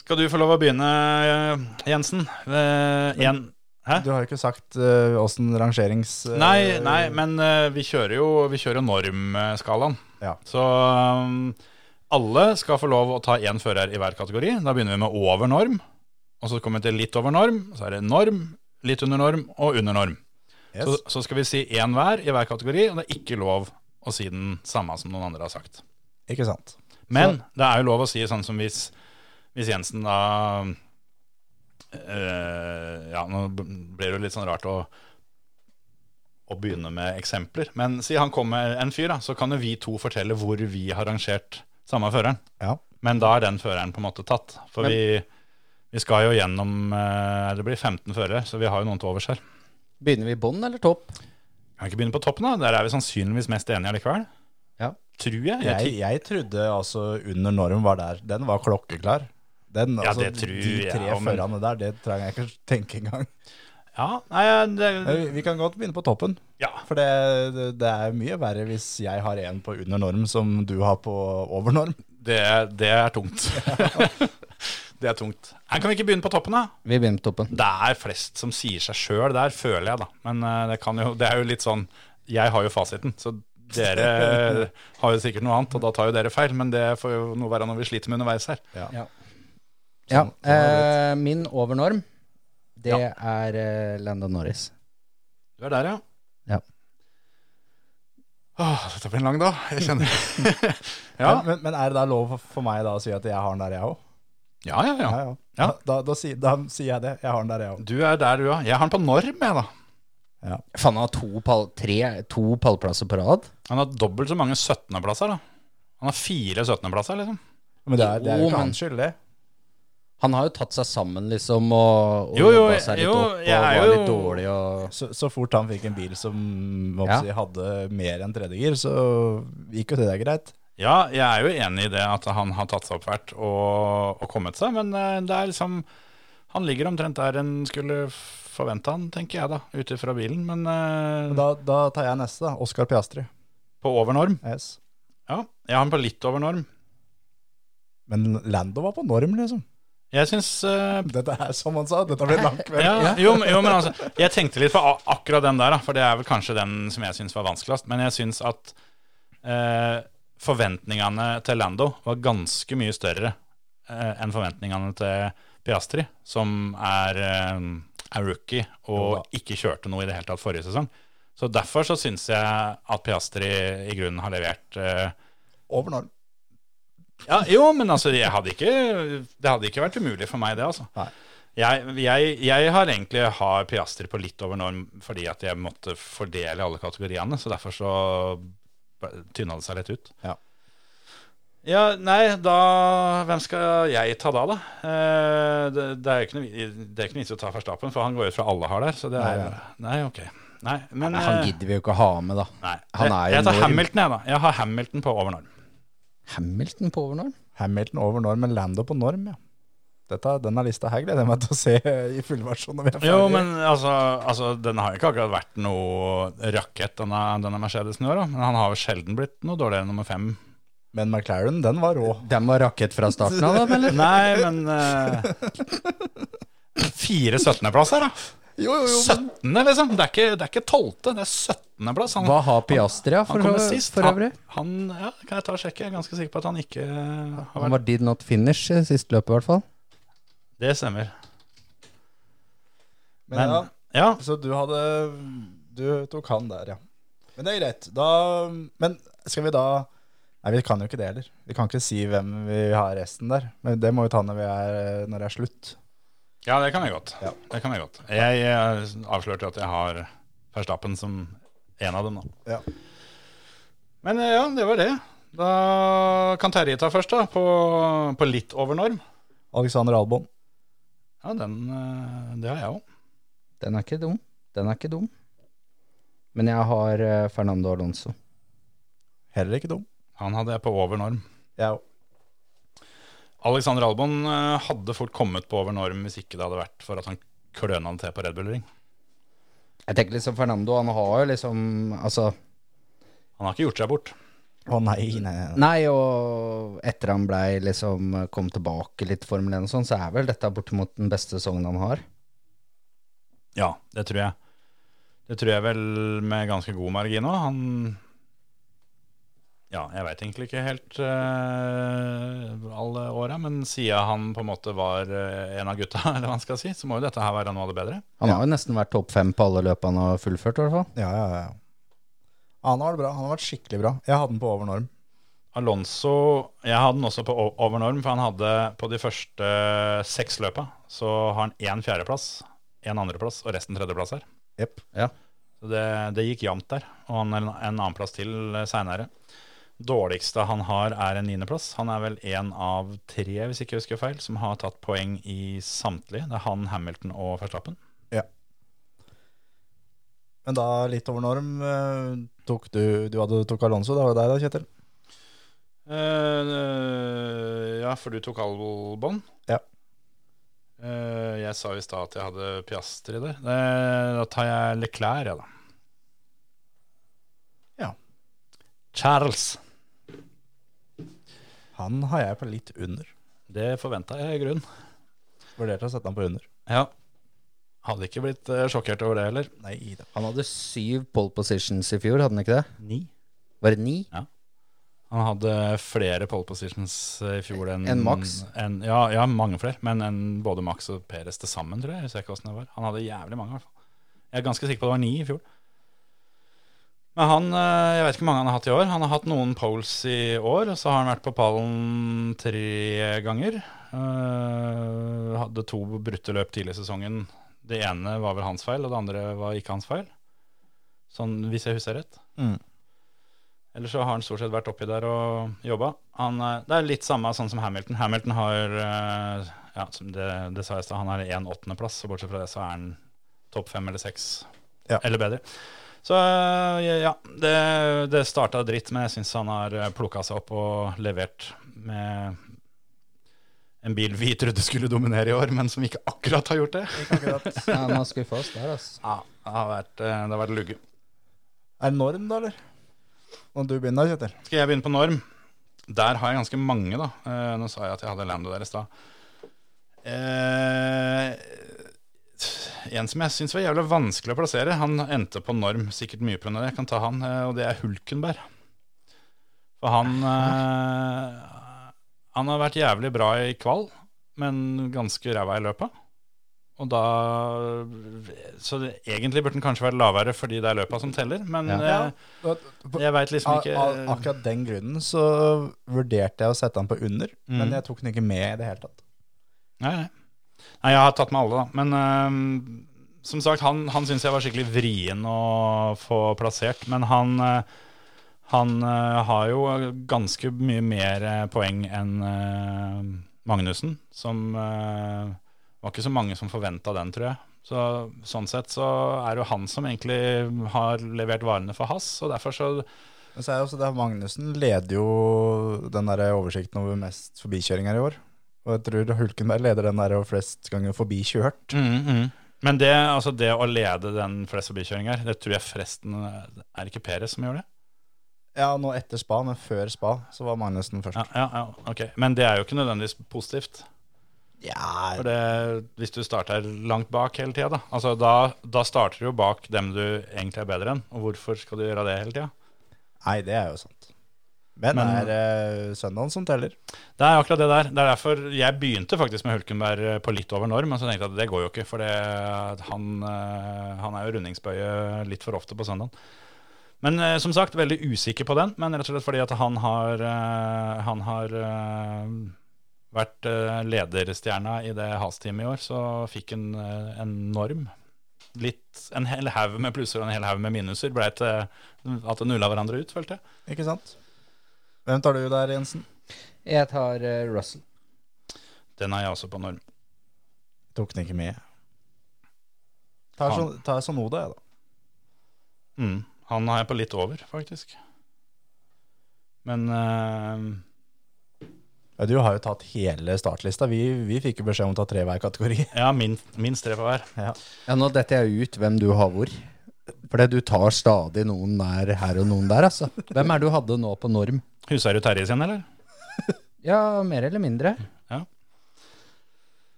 C: Skal du få lov å begynne, eh, Jensen? Eh, en. Hæ?
E: Du har jo ikke sagt eh, åssen rangerings... eh,
C: Nei, nei, men eh, vi kjører jo, vi kjører jo normskalaen.
E: Ja.
C: Så um, alle skal få lov å ta én fører i hver kategori. Da begynner vi med over norm, og så kommer vi til litt over norm, så er det norm, litt under norm og under norm.
E: Yes.
C: Så, så skal vi si én hver i hver kategori, og det er ikke lov å si den samme som noen andre har sagt.
E: Ikke sant.
C: Men det er jo lov å si sånn som hvis, hvis Jensen da eh, Ja, nå blir det jo litt sånn rart å, å begynne med eksempler. Men si han kommer en fyr, da, så kan jo vi to fortelle hvor vi har rangert samme føreren.
E: Ja.
C: Men da er den føreren på en måte tatt. For
E: Men-
C: vi, vi skal jo gjennom eh, Det blir 15 førere, så vi har jo noen til overs her.
D: Begynner vi i bånn eller topp?
C: Kan vi ikke begynne på toppen, da? Der er vi sannsynligvis mest enige allikevel.
D: Ja.
C: Tror jeg. jeg
E: Jeg, jeg trodde altså under norm var der. Den var klokkeklar. Den,
C: Ja,
E: altså,
C: det tror
E: de
C: jeg
E: tre
C: også, men-
E: førerne der, det trenger jeg ikke tenke engang.
C: tror- ja, nei, det,
E: Men Eh, Vi, vi kan godt begynne på toppen.
C: ja.
E: For det, det, det er mye verre hvis jeg har en på under norm som du har på over norm.
C: Det, det er tungt. det er tungt. Her kan vi ikke begynne på toppen, da.
D: Vi begynner på toppen.
C: Det er flest som sier seg sjøl der, føler jeg, da. Men eh, det, kan jo, det er jo litt sånn Jeg har jo fasiten, så dere har jo sikkert noe annet, og da tar jo dere feil. Men det får jo noe være når vi sliter med underveis her.
D: Ja. ja eh, min overnorm, det
C: Ja.
D: er eh, Landon Norris.
C: Du er der, ja.
D: Ja.
C: Åh, dette blir en lang dag. Jeg kjenner ja.
E: Men, men, men er det da lov for meg da å si at jeg har den der, jeg òg?
C: Ja, ja, ja.
E: ja.
C: Ja.
E: Da, da, si, da sier jeg det. Jeg har den der, jeg òg.
C: Du er der, du, ja. Jeg har den på norm, jeg, da.
D: Faen, han har to, pall, tre, to pallplasser på rad.
C: Han har dobbelt så mange 17.-plasser, da. Han har fire 17.-plasser, liksom.
E: Men det er, det er jo
D: Jo,
E: ikke
D: men-
E: hans skyld, det.
D: Han har jo tatt seg sammen, liksom, og, og
C: Jo, jo,
D: jobba seg litt
C: jo,
D: opp og
C: jeg er
D: var
C: jo-
D: litt dårlig og
E: Så, så fort han fikk en bil som må
D: Ja.
E: si, hadde mer enn tredjegir, så gikk jo det der greit.
C: Ja, jeg er jo enig i det at han har tatt seg opp hvert og, og kommet seg, men eh, det er liksom Han ligger omtrent der en skulle forvente han, tenker jeg da, ut ifra bilen, men eh,
E: Da, da tar jeg neste, da. Oskar Piastri.
C: på over norm.
E: Yes.
C: Ja, jeg har han på litt over norm.
E: Men Lando var på norm, liksom.
C: Jeg syns eh,
E: Dette er som han sa, dette blir lang kveld.
C: ja, jo, men- jo, men altså, jeg tenkte litt på a- akkurat den der, da, for det er vel kanskje den som jeg syns var vanskeligst. Men jeg syns at eh, forventningene til Lando var ganske mye større eh, enn forventningene til Piastri, som er, eh, er rookie og ikke kjørte noe i det hele tatt forrige sesong. Så derfor så syns jeg at Piastri i grunnen har levert eh,
E: Over norm.
C: ja, jo, men altså, jeg hadde ikke, det hadde ikke vært umulig for meg, det, altså.
E: Nei.
C: Jeg, jeg, jeg har egentlig har Piastri på litt over norm fordi at jeg måtte fordele alle kategoriene, så derfor så b- tynna det seg litt ut.
E: Ja.
C: Ja, nei, da Hvem skal jeg ta da, da? Eh, det, det er jo ikke noe, vi- det er ikke noe vits i å ta Verstappen, for han går ut fra alle har der, så det er Nei, ok. Nei, men
D: Nei, Han
C: eh,
D: gidder vi jo ikke å ha med, da.
C: Nei.
D: han er
C: jeg,
D: jo
C: jeg tar
D: norm.
C: Hamilton, jeg, da. Jeg har Hamilton på over norm.
D: Hamilton på overnorm?
E: Hamilton over norm, men Lando på norm, ja. Dette, denne lista her gleder jeg meg til å se i fullversjon når vi er ferdige.
C: Jo, men altså, altså den har jo ikke akkurat vært noe rakett, denne, denne Mercedesen i år. da. Men han har jo sjelden blitt noe dårligere enn nummer fem.
E: men McLaren, den var rå.
D: Den var rakett fra starten av, dem, eller?
C: Nei, men eh, Fire 17.-plasser, da.
E: Jo, jo, jo.
C: 17., liksom. Det er ikke, det er ikke 12., det er 17.-plass. Han,
D: Hva har Piastri, ja,
C: han
D: for,
C: kommer sist.
D: for øvrig?
C: Han, han, ja, kan jeg ta og sjekke? Jeg er ganske sikker på at han ikke har
D: Han
C: vært
D: var did not finish eh, siste løpet, i hvert fall.
C: Det stemmer.
E: Men, ja,
C: ja.
E: så du hadde Du tok han der, ja. Men det er greit. Da Men skal vi da Nei, vi kan jo ikke det heller. Vi kan ikke si hvem vi har resten der. Men det må vi ta når, vi er, når det er slutt.
C: Ja, det kan jeg godt.
E: Ja.
C: Det kan jeg godt. Jeg eh, avslørte jo at jeg har Verstappen som en av dem, da.
E: Ja.
C: Men eh, ja, det var det. Da kan Terje ta først, da. På, på litt over norm.
E: Alexander Albon.
C: Ja, den eh, Det har jeg òg.
D: Den er ikke dum. Den er ikke dum. Men jeg har eh, Fernando Alonso.
E: Heller ikke dum.
C: Han hadde jeg på over norm.
E: Jeg òg.
C: Alexander Albon eh, hadde fort kommet på over norm hvis ikke det hadde vært for at han kløna det til på Red Bull Ring.
D: Jeg tenker liksom Fernando, han har jo liksom Altså
C: Han har ikke gjort seg bort.
E: Å nei, nei, nei, nei.
D: Nei, og etter han blei liksom kom tilbake litt i Formel 1 og sånn, så er vel dette bortimot den beste sesongen han har.
C: Ja, det tror jeg. Det tror jeg vel med ganske god margin òg. Han Ja, jeg veit egentlig ikke helt eh, alle åra, men siden han på en måte var eh, en av gutta, eller hva man skal si, så må jo dette her være noe av det bedre.
D: Han har jo nesten vært topp fem på alle løp han har fullført, i hvert fall.
E: Ja, ja, ja. Ah, Han har vært bra. Han har vært skikkelig bra. Jeg hadde den på over norm.
C: Alonso Jeg hadde den også på o- over norm, for han hadde på de første seks løpa så har han én fjerdeplass, én andreplass og resten tredjeplass her.
E: Jepp.
C: Så det, det gikk jevnt der, og han er en, en annen plass til seinere. Dårligste han har, er en niendeplass. Han er vel én av tre, hvis ikke jeg husker feil, som har tatt poeng i samtlige. Det er han, Hamilton og Verstappen.
E: Men da litt over norm eh, tok du Du hadde tok Alonso. Det var jo deg da, Kjetil.
C: Eh, ja, for du tok Albon.
E: Ja.
C: Eh, jeg sa i stad at jeg hadde Piastri der. Eh, da tar jeg Leclerc, jeg, da.
E: Ja.
C: Charles.
E: Han har jeg på litt under.
C: Det forventa jeg i grunnen.
E: Vurderte å sette han på under.
C: Ja. Hadde ikke blitt eh, sjokkert over det heller.
E: Nei da.
D: Han hadde syv pole positions i fjor, hadde han ikke det?
C: Ni.
D: Var det ni?
C: Han hadde flere pole positions eh, i fjor enn
D: Enn Max?
C: enn- ja, ja, mange flere. Men enn både Max og Peres til sammen, tror jeg. Jeg husker ikke hvordan det var. Han hadde jævlig mange, i hvert fall. Jeg er ganske sikker på det var ni i fjor. Men han, eh, jeg vet ikke hvor mange han har hatt i år. Han har hatt noen poles i år, og så har han vært på pallen tre ganger. Eh, hadde to brutte løp tidlig i sesongen. Det ene var vel hans feil, og det andre var ikke hans feil. Sånn, hvis jeg husker rett.
E: Mm.
C: Ellers så har han stort sett vært oppi der og jobba. Han, er- det er litt samme sånn som Hamilton. Hamilton har eh, ja, som det, det sa jeg i stad, han er en åttendeplass, og bortsett fra det så er han topp fem eller seks,
E: Ja.
C: eller bedre. Så eh, ja, det, det starta dritt, men jeg syns han har plukka seg opp og levert med en bil vi trodde skulle dominere i år, men som ikke akkurat har gjort det.
D: Ja, han har skuffa oss der, altså.
C: Ja, det har vært, eh, det har vært lugge.
E: Er det norm, da, eller? Når du begynner, Kjetil.
C: Skal jeg begynne på norm? Der har jeg ganske mange, da. Eh, nå sa jeg at jeg hadde Lando der i stad. Eh, en som jeg syns var jævlig vanskelig å plassere. Han endte på norm, sikkert mye pga. det. Jeg kan ta han, eh, og det er Hulkenberg. For han eh, Han har vært jævlig bra i kval, men ganske ræva i løpet. Og da Så det, egentlig burde han kanskje vært lavere fordi det er løpa som teller, men
E: Ja.
C: eh, jeg veit liksom
E: Av,
C: ikke
E: av Ah, akkurat den grunnen så vurderte jeg å sette han på under, men jeg tok den ikke med i det hele tatt.
C: Nei, nei. nei, jeg har tatt med alle, da. Men øhm, som sagt, han, han syns jeg var skikkelig vrien å få plassert. Men han, øh, han øh, har jo ganske mye mer øh, poeng enn øh, Magnussen, som øh, var ikke så mange som forventa den, tror jeg. Så, sånn sett så er det jo han som egentlig har levert varene for Hass, og derfor så
E: Men så er det også det at Magnussen leder jo den der oversikten over mest forbikjøringer i år. Og jeg tror Hulkenberg leder den der over flest ganger forbikjørt.
C: Mm, mm. Men det, altså det å lede den flest forbikjøringer, det tror jeg forresten Er det ikke Peres som gjør det?
E: Ja, nå etter spa, men før spa så var Magnussen først.
C: Ja, ja, ja, ok. Men det er jo ikke nødvendigvis positivt.
E: Ja,
C: For det, hvis du starter langt bak hele tida, da. Altså, da, da starter du jo bak dem du egentlig er bedre enn. Og hvorfor skal du gjøre det hele tida?
E: Nei, det er jo sant. Men,
C: Men-
E: det er eh, søndagen som teller.
C: Det er akkurat det der. Det er derfor jeg begynte faktisk med Hulkenberg eh, på litt over norm, men så tenkte jeg at det går jo ikke, for det, han, eh, han er jo rundingsbøye litt for ofte på søndagen. Men eh, som sagt, veldig usikker på den, men rett og slett fordi at han har, eh, han har eh, vært eh, lederstjerna i det Has-teamet i år, så fikk han eh, en norm. Litt, en hel haug med plusser og en hel haug med minuser ble til at det nulla hverandre ut, følte jeg.
E: Ikke sant? Hvem tar du der, Jensen?
D: Jeg tar eh, Russell.
C: Den har jeg også på norm.
E: Tok den ikke med. Tar,
C: Han-
E: sånn, tar sånn Oda, jeg, da.
C: Mm. Han har jeg på litt over, faktisk. Men eh,
E: Ja, du har jo tatt hele startlista. Vi, vi fikk jo beskjed om å ta tre hver kategori.
C: ja, min- minst tre på hver.
D: Ja, nå detter jeg ut hvem du har hvor. Fordi du tar stadig noen der her og noen der, altså. Hvem er det du hadde nå på norm?
C: Husker du Terje sin, eller?
D: Ja, mer eller mindre.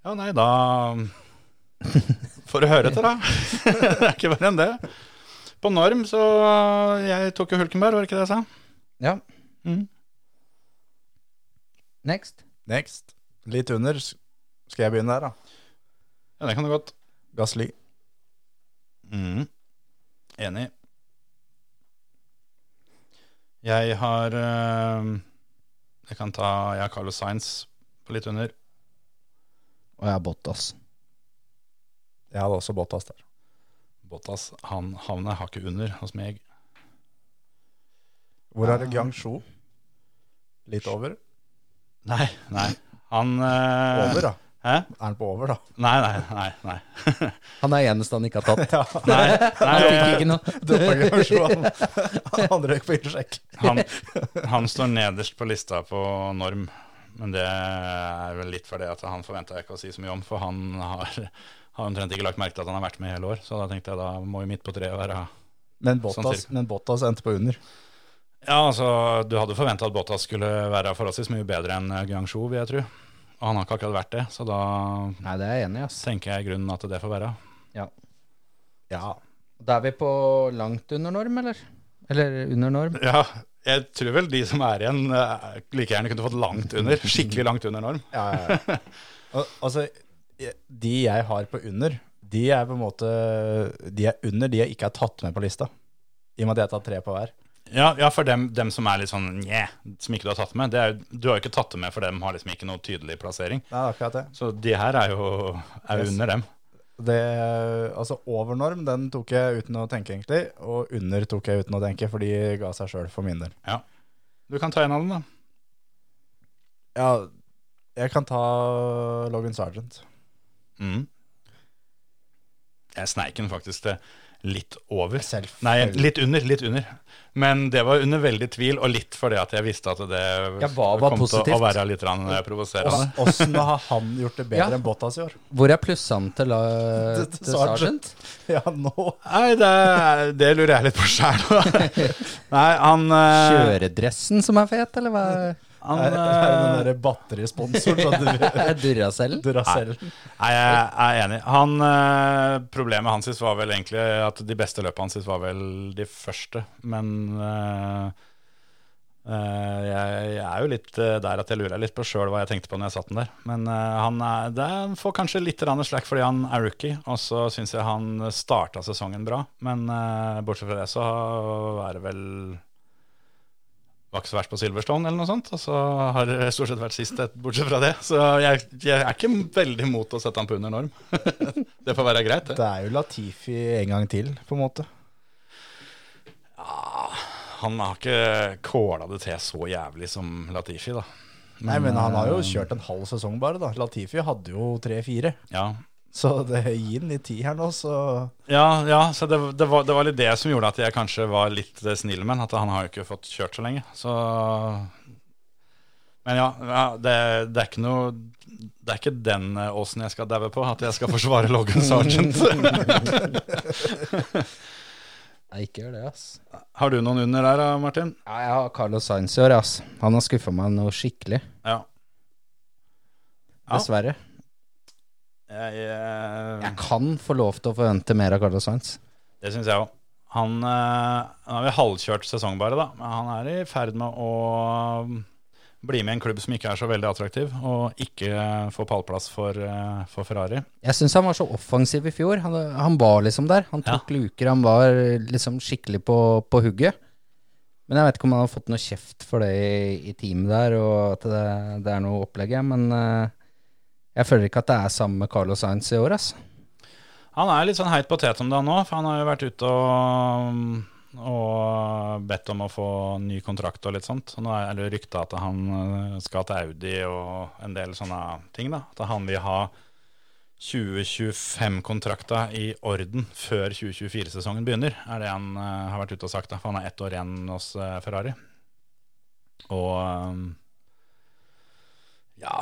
C: Ja, nei, da får du høre etter, da. det er ikke verre enn det. På norm så eh, Jeg tok jo Hulkenberg, var det ikke det jeg sa?
D: Ja.
C: Mm.
D: Next.
E: Next. Litt under. S- Skal jeg begynne der, da?
C: Ja, det kan du godt.
E: Gassly.
C: Mm. Enig. Jeg har eh, Jeg kan ta Jeg har Carlos Sainz på litt under.
D: Og jeg har Bottas.
E: Jeg hadde også Bottas der.
C: Bottas han havner hakket under hos meg.
E: Hvor
C: Ah.
E: er det Guangzhou? Litt over?
C: Nei, nei. Han eh,
E: Over, da.
C: Hæ?
E: Er han på over, da?
C: Nei, nei, nei. nei.
D: Han er eneste han ikke har tatt.
E: Ja.
C: nei,
D: Han fikk
C: nei eh,
D: ikke noe.
E: Droppa Guangzhou. Han- Han røyk på ildsjekk.
C: han, han står nederst på lista på norm, men det er vel litt fordi at han forventa jeg ikke å si så mye om, for han har, har omtrent ikke lagt merke til at han har vært med i hele år. Så da tenkte jeg da må jo midt på treet være
E: Men
C: Sånn
E: Bottas,
C: cirka.
E: men Bottas endte på under.
C: Ja, altså, du hadde forventa at Bottas skulle være forholdsvis mye bedre enn eh, Guangzhou, vil jeg tro. Og han har ikke akkurat vært det, så da
D: Nei, det er jeg enig i, ass.
C: tenker jeg i grunnen at det får være.
D: Ja.
E: Ja.
D: Da er vi på langt under norm, eller? Eller under norm?
C: Ja, jeg tror vel de som er igjen, eh, like gjerne kunne fått langt under. Skikkelig langt under norm.
E: ja, ja, ja. Al- Altså, jeg- de jeg har på under, de er på en måte De er under de jeg ikke har tatt med på lista. I og med at jeg har tatt tre på hver.
C: Ja, ja for dem, dem som er litt sånn njeh, som ikke du har tatt med. Det er, jo- du har jo ikke tatt det med, for dem har liksom ikke noe tydelig plassering.
E: Nei, det er akkurat det.
C: Så de her er jo er jo
E: Yes.
C: under dem.
E: det altså, overnorm den tok jeg uten å tenke, egentlig. Og under tok jeg uten å tenke, for de ga seg sjøl for min del.
C: Du kan ta en av dem, da.
E: Ja, jeg kan ta Logan Sergeant.
C: Mm. Jeg sneik den faktisk til litt over.
E: Selvfølgelig.
C: Nei, litt under, litt under. Men det var under veldig tvil, og litt fordi at jeg visste at det
D: Ja, hva var
C: kom til å
D: positivt?
C: være litt grann, eh, provoserende.
E: Åssen har han gjort det bedre
D: Ja.
E: enn Bottas i år?
D: Hvor er plussene til, uh,
E: Til- til
D: til Sergeant?
E: Ja, nå
C: Nei, det, er- det lurer jeg litt på sjæl. Nei, han eh,
D: Kjøredressen som er fet, eller hva?
C: han,
E: er, er det den
C: eh,
E: derre batterisponsoren som du
D: Duracell?
E: Duracell.
C: Nei, jeg er enig. Han, eh, problemet hans sist var vel egentlig at de beste løpene hans sist var vel de første, men eh, eh, jeg, jeg er jo litt eh, der at jeg lurer litt på sjøl hva jeg tenkte på når jeg satt den der. Men eh, han er, det er- han får kanskje litt grann slack fordi han er rookie, og så syns jeg han starta sesongen bra. Men eh, bortsett fra det så er det vel var ikke så verst på Silverstone, eller noe sånt. Og så har det stort sett vært sist, et- bortsett fra det. Så jeg, jeg er ikke veldig mot å sette han på under norm. det får være greit, det.
E: Det er jo Latifi en gang til, på en måte.
C: Han har ikke kåla det til så jævlig som Latifi, da.
E: Nei, men eh, han har jo kjørt en halv sesong bare, da. Latifi hadde jo tre-fire.
C: Ja,
E: Så det gi den litt tid her nå, så
C: ja, ja så det, det, var, det var litt det som gjorde at jeg kanskje var litt eh, snill med han. At han har jo ikke fått kjørt så lenge. Så Men ja, ja det, det er ikke noe Det er ikke den eh, åsen jeg skal daue på, at jeg skal forsvare Logan Sergeant.
D: Nei, ikke gjør det, ass.
C: har du noen under der, da, Martin?
D: Ja, jeg har Carlos Sainz i år, ass. Han har skuffa meg noe skikkelig.
C: Ja. Ja.
D: Dessverre.
C: Jeg, eh,
D: Jeg kan få lov til å forvente mer av Carlos Sainz.
C: Det syns jeg òg. Han eh, han har vi halvkjørt sesong bare, da. Men han er i ferd med å bli med i en klubb som ikke er så veldig attraktiv, og ikke eh, få pallplass for, eh, for Ferrari.
D: Jeg syns han var så offensiv i fjor. Han, han var liksom der. Han tok luker, han var liksom skikkelig på, på hugget. Men jeg vet ikke om han har fått noe kjeft for det i, i teamet der, og at det, det er noe opplegg, ja, men eh, jeg føler ikke at det er sammen med Carlos Sainz i år, ass.
C: Han er litt sånn heit potet om det, han òg, for han har jo vært ute og, og bedt om å få ny kontrakt og litt sånt. Så nå er det rykta at han eh, skal til Audi og en del sånne ting, da. At han vil ha 2025-kontrakta i orden før 2024-sesongen begynner, er det han eh, har vært ute og sagt. da, for Han har ett år igjen hos eh, Ferrari. Og eh, ja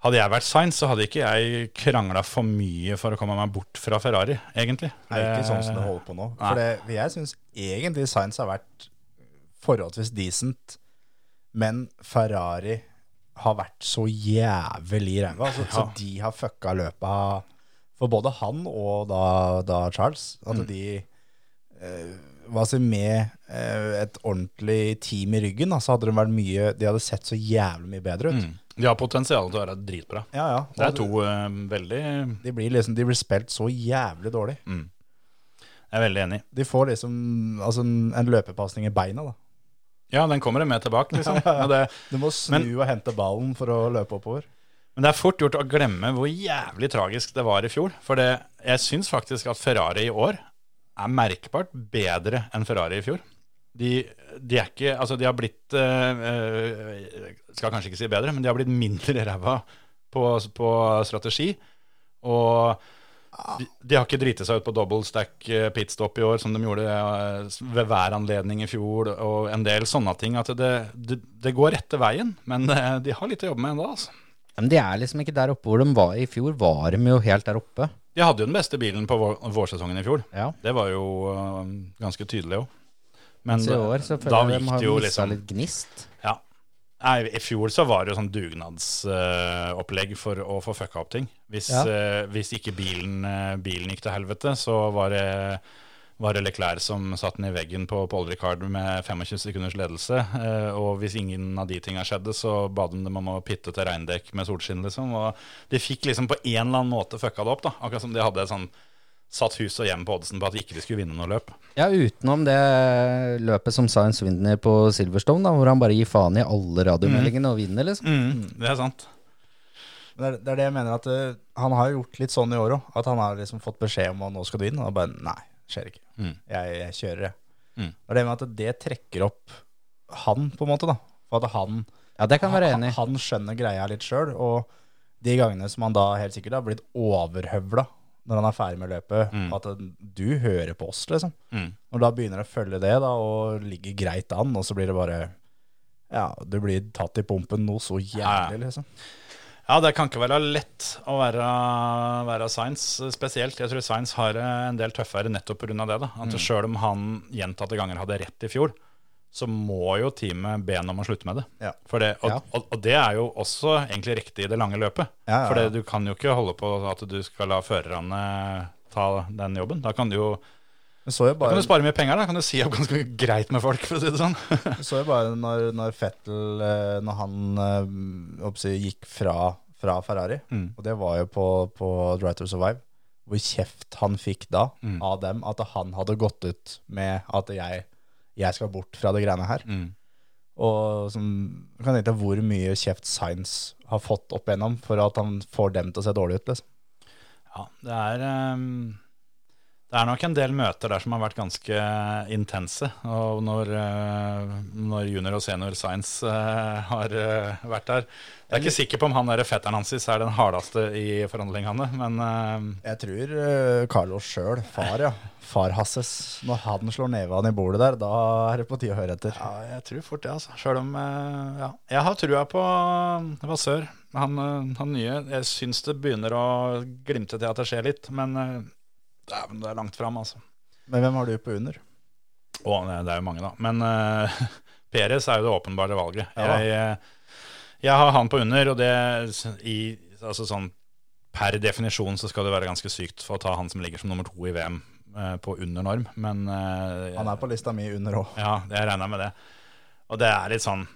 C: Hadde jeg vært Sainz, så hadde ikke jeg krangla for mye for å komme meg bort fra Ferrari, egentlig. Eh,
E: Det er ikke sånn som det holder på nå. For det, jeg syns egentlig Science har vært forholdsvis decent, men Ferrari har vært så jævlig ræva. Altså, Så de har fucka løpet av for både han og da, da Charles. At de eh, var så med eh, et ordentlig team i ryggen, da, så hadde de vært mye De hadde sett så jævlig mye bedre ut.
C: De har potensial til å være dritbra.
E: Ja, ja.
C: Det er to eh, veldig Jeg
E: De blir liksom De blir spilt så jævlig dårlig.
C: er veldig enig.
E: De får liksom altså en, en løpepasning i beina, da.
C: Ja, den kommer det med tilbake, liksom. Men det,
E: Du må snu og hente ballen for å løpe oppover.
C: men det er fort gjort å glemme hvor jævlig tragisk det var i fjor. For det, jeg syns faktisk at Ferrari i år er merkbart bedre enn Ferrari i fjor. De, de er ikke Altså, de har blitt eh, eh, Skal kanskje ikke si bedre, men de har blitt mindre ræva på, på strategi. Og de, de har ikke driti seg ut på double stack eh, pitstop i år, som de gjorde eh, s- ved hver anledning i fjor, og en del sånne ting. At det, det, det går rette veien, men eh, de har litt å jobbe med ennå, altså.
D: Men de er liksom ikke der oppe hvor de var i fjor. Var de jo helt der oppe.
C: De hadde jo den beste bilen på vår, vårsesongen i fjor.
D: Ja.
C: Det var jo eh, ganske tydelig òg. Men
D: Så Altså, i år så
C: da
D: føler jeg de
C: gikk
D: har
C: det jo
D: mista
C: liksom
D: litt gnist.
C: Ja. Nei, I fjor så var det jo sånn dugnadsopplegg for å få fucka opp ting. Hvis,
D: Ja.
C: eh, hvis ikke bilen, eh, bilen gikk til helvete, så var det, var det Leclerc som satt den i veggen på Paul Ricard med 25 sekunders ledelse. eh, og hvis ingen av de tinga skjedde, så ba de dem om å pitte til regndekk med solskinn, liksom. Og de fikk liksom på en eller annen måte fucka det opp, da. Akkurat som de hadde sånn satt hus og hjem på oddsen på at ikke de skulle vinne noe løp.
D: Ja, utenom det løpet som Science vinner på Silverstone, da, hvor han bare gir faen i alle
C: Mm.
D: radiomeldingene og vinner, liksom.
C: Det er sant.
E: Men det, er, det er det jeg mener at eh, han har gjort litt sånn i år òg. At han har liksom fått beskjed om at nå skal du inn. Og bare nei, skjer ikke. Jeg, jeg kjører, jeg.
C: Mm.
E: Det er det med at det trekker opp han, på en måte. da For at han,
D: Ja, det kan jeg være
E: han,
D: enig i.
E: han skjønner greia litt sjøl. Og de gangene som han da helt sikkert har blitt overhøvla når han er ferdig med løpet, at du hører på oss, liksom.
C: Mm.
E: Når da begynner å følge det da, og ligger greit an, og så blir det bare Ja, du blir tatt i pumpen noe så
C: Ja, ja.
E: jævlig, liksom.
C: Ja, det kan ikke være lett å være, være Science spesielt. Jeg tror Science har det en del tøffere nettopp pga. det. da.
E: Mm.
C: At Selv om han gjentatte ganger hadde rett i fjor, så må jo teamet be ham om å slutte med det.
E: Ja.
C: For det og,
E: Ja.
C: og, og det er jo også egentlig riktig i det lange løpet.
E: Ja, ja,
C: For
E: ja.
C: det- du kan jo ikke holde på at du skal la førerne ta den jobben. Da kan du jo
E: Men så jo
C: da
E: bare,
C: kan du spare mye penger. da, kan du si opp ganske greit med folk, for å si det sånn.
E: så jo bare når, når Fettel eh, Når han eh, oppsi, gikk fra, fra Ferrari,
C: Mm.
E: og det var jo på, på Drive to Survive, hvor kjeft han fikk da
C: Mm.
E: av dem at han hadde gått ut med at jeg, jeg skal bort fra det greiene her.
C: Mm.
E: Og som, jeg kan tenke deg hvor mye kjeft Science har fått opp igjennom for at han får dem til å se dårlig ut. liksom.
C: Ja, det er ehm, Det er nok en del møter der som har vært ganske eh, intense. Og når, eh, når junior og senior science eh, har eh, vært der Jeg er ikke sikker på om han der fetteren hans er den hardeste i forhandlingene, men eh,
E: Jeg tror eh, Carlos sjøl, far ja, far Hasses, når han slår neva i bordet der, da er det på tide å høre etter.
C: ja, jeg tror fort det, altså. Sjøl om eh, ja. Jeg har trua på Vasør. Han, eh, han nye. Jeg syns det begynner å glimte til at det skjer litt, men eh, dæven, det er langt fram, altså.
E: Men hvem har du på under?
C: Å, nei, det er jo mange, da. Men uh, Peres er jo det åpenbare valget.
E: Ja da.
C: Jeg, eh, jeg har han på under, og det s- i, altså sånn, Per definisjon så skal det være ganske sykt for å ta han som ligger som nummer to i VM eh, på under norm, men eh,
E: Han er på lista mi under òg.
C: Ja, jeg regner med det. Og det er litt sånn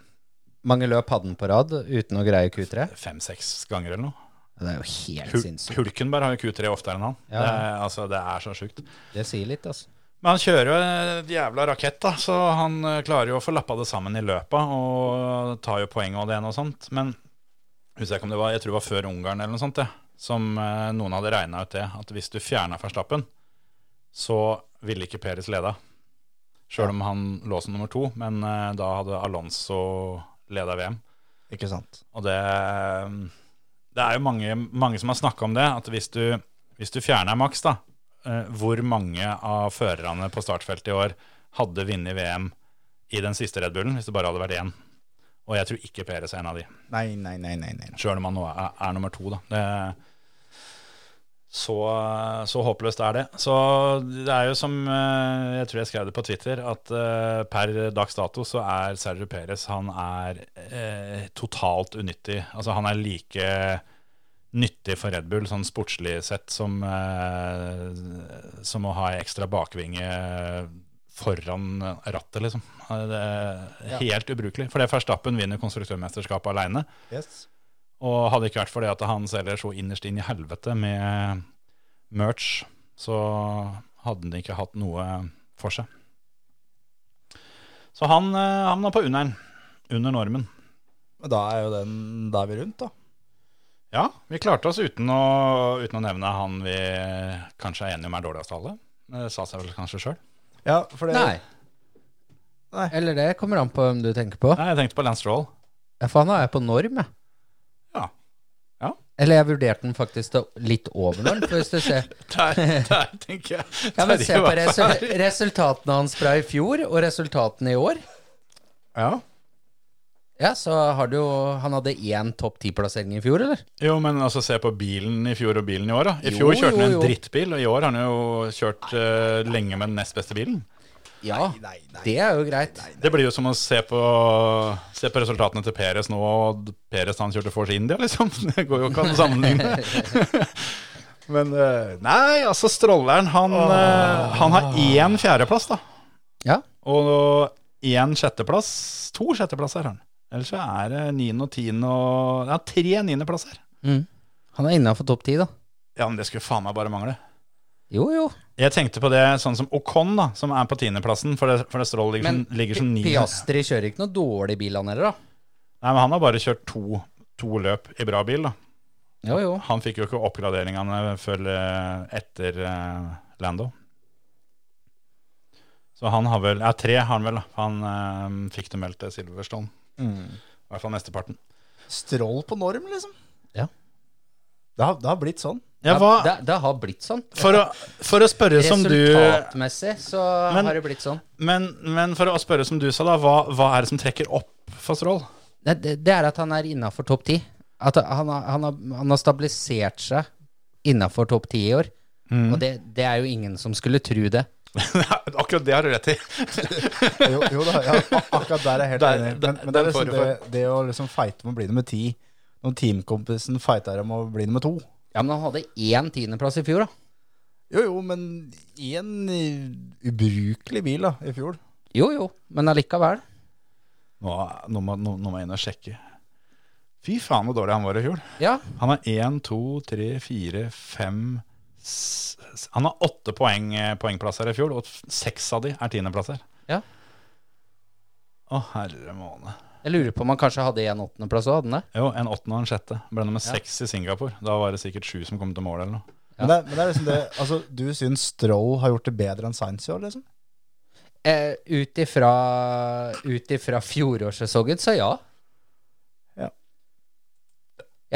D: Mange løp hadde han på rad uten å greie Q3.
C: fem-seks ganger eller noe.
D: Det er jo helt
C: Hul
D: sinnssykt.
C: Hulkenberg har jo Q3 oftere enn han.
D: Ja.
C: Det, er, altså, det er så sjukt.
D: Det sier litt, altså.
C: Men han kjører jo en jævla rakett, da, så han eh, klarer jo å få lappa det sammen i løpet og tar jo poeng og det ene og sånt. Men husker jeg ikke om det var, jeg tror det var før Ungarn eller noe sånt, det, som eh, noen hadde regna ut det, at hvis du fjerna Verstappen, så ville ikke Peres leda. Sjøl om han lå som nummer to, men eh, da hadde Alonso leda VM.
E: Ikke sant?
C: Og det det er jo mange, mange som har snakka om det, at hvis du, hvis du fjerner maks, da, eh, hvor mange av førerne på startfeltet i år hadde vunnet VM i den siste Red Bullen, hvis det bare hadde vært én? Og jeg tror ikke Peres er en av de,
E: Nei, nei, nei, nei, nei.
C: sjøl om han nå er, er nummer to, da. Det, så, så håpløst er det. Så det er jo som eh, jeg tror jeg skrev det på Twitter, at eh, per dags dato så er Sergio Perez han er eh, totalt unyttig. Altså han er like nyttig for Red Bull sånn sportslig sett som, eh, som å ha ei ekstra bakvinge foran rattet, liksom. Eh, Det er helt ubrukelig. For det Verstappen vinner konstruktørmesterskapet aleine.
E: Yes.
C: Og hadde ikke vært for det at han selger så innerst inn i helvete med merch, så hadde han ikke hatt noe for seg. Så han eh, havna på under'n. Under normen.
E: Men da er jo den Da er vi rundt, da.
C: Ja, vi klarte oss uten å, uten å nevne han vi kanskje er enige om er dårligst av alle. Det sa seg vel kanskje sjøl.
E: Ja, for det
D: Nei.
E: Nei.
D: Eller det kommer an på hvem du tenker på.
C: Nei, jeg tenkte på Lance Stroll.
D: Ja, For han er jo på norm, jeg.
C: Ja. Ja.
D: Eller jeg vurderte den faktisk til litt over norm. For hvis du ser
C: Der, der tenker jeg.
D: Ja, men
C: Der
D: se på
C: var
D: resul
C: ferdig.
D: resultatene hans fra i fjor, og resultatene i år.
C: Ja.
D: Ja, så har du jo Han hadde én topp ti-plassering i fjor, eller?
C: Jo, men altså se på bilen i fjor og bilen i år, da. I
D: Jo,
C: fjor kjørte han
D: jo,
C: en
D: jo.
C: drittbil, og i år har han jo kjørt eh, lenge med den nest beste bilen.
D: Ja,
E: Nei, nei.
D: det er jo greit.
C: Det blir jo som å se på, se på resultatene til Peres nå, og Peres han kjørte Force India, liksom. Det går jo ikke an å sammenligne. men eh, Nei, altså, Strolleren, han, eh, han har én fjerdeplass, da.
D: Ja.
C: Og én sjetteplass. To sjetteplasser har han. Ellers så er det niende og tiende og Ja, tre niendeplasser.
D: Mm. Han er innafor topp ti, da.
C: Ja, men det skulle faen meg bare mangle.
D: Jo, jo.
C: Jeg tenkte på det sånn som Ocon, da, som er på tiendeplassen, for det, for det Stroll ligger,
D: Men
C: som- ligger som ni. Nei,
D: Piastri kjører ikke noe dårlig bil, han heller, da.
C: men han har bare kjørt to, to løp i bra bil, da.
D: Jo, jo.
C: Han fikk jo ikke oppgraderingene før eh, etter eh, Lando. Så han har vel Ja, tre har han vel, da. Han eh, fikk det meldt til Silverstone.
D: Mm.
C: I hvert fall mesteparten.
E: Strål på norm, liksom.
D: Ja.
E: Det har, det har blitt sånn.
C: Ja,
D: Det,
C: hva,
D: det, det har blitt sånn.
C: for, å, for å spørre som du
D: Resultatmessig så
C: Men-
D: har det blitt sånn.
C: men, men for å spørre som du sa, da. Hva, hva er det som trekker opp for Stroll?
D: Det, det, det er at han er innafor topp ti. At han, har- han, har, han har stabilisert seg innafor topp ti i år.
C: Mm.
D: Og det, det er jo ingen som skulle tro det.
C: Akkurat det har du rett i.
E: Jo, jo da, ja, ak- akkurat der er jeg helt
C: Der-
E: enig. Men,
C: der-
E: men det, er
C: der får
E: liksom
C: du
E: det, det å liksom fighte om å bli nummer ti Når teamkompisen fighter om å bli nummer to
D: Ja, men han hadde én tiendeplass i fjor, da.
E: Jo, jo, men i en eh, ubrukelig bil da, i fjor.
D: Jo, jo, men allikevel.
C: Nå, nå, må, nå, nå må jeg inn og sjekke. Fy faen hvor dårlig han var i fjor.
D: Ja,
C: Han har én, to, tre, fire, fem s- s- Han har åtte poeng, eh, poengplasser i fjor, og f- seks av de er tiendeplasser.
D: Ja.
C: Å, herre måne.
D: jeg lurer på om han kanskje hadde en åttendeplass òg, hadde han det?
C: Jo, en åttende og en sjette. Ble nummer seks i Singapore. Da var det sikkert sju som kom til mål, eller noe.
D: Ja.
E: Men, det, er- men det er liksom det Altså, du syns Stroll har gjort det bedre enn Sainz i år, liksom?
D: Eh, ut ifra Ut ifra fjorårssesongen, så ja.
E: Ja.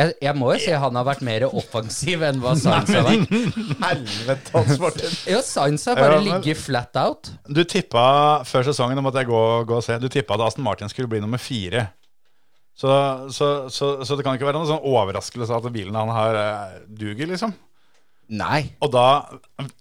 D: Jeg, jeg må jo si han har vært mer offensiv enn hva Sainz har vært.
E: Helvete, Hans Martin.
D: Jo, Sainz har bare
C: Ja, men-
D: ligget flat out.
C: Du tippa før sesongen, nå måtte jeg gå, gå og se, du tippa at Aston Martin skulle bli nummer fire. Så, så, så, så det kan ikke være noen sånn overraskelse at bilen han har, eh, duger, liksom.
D: Nei.
C: Og da,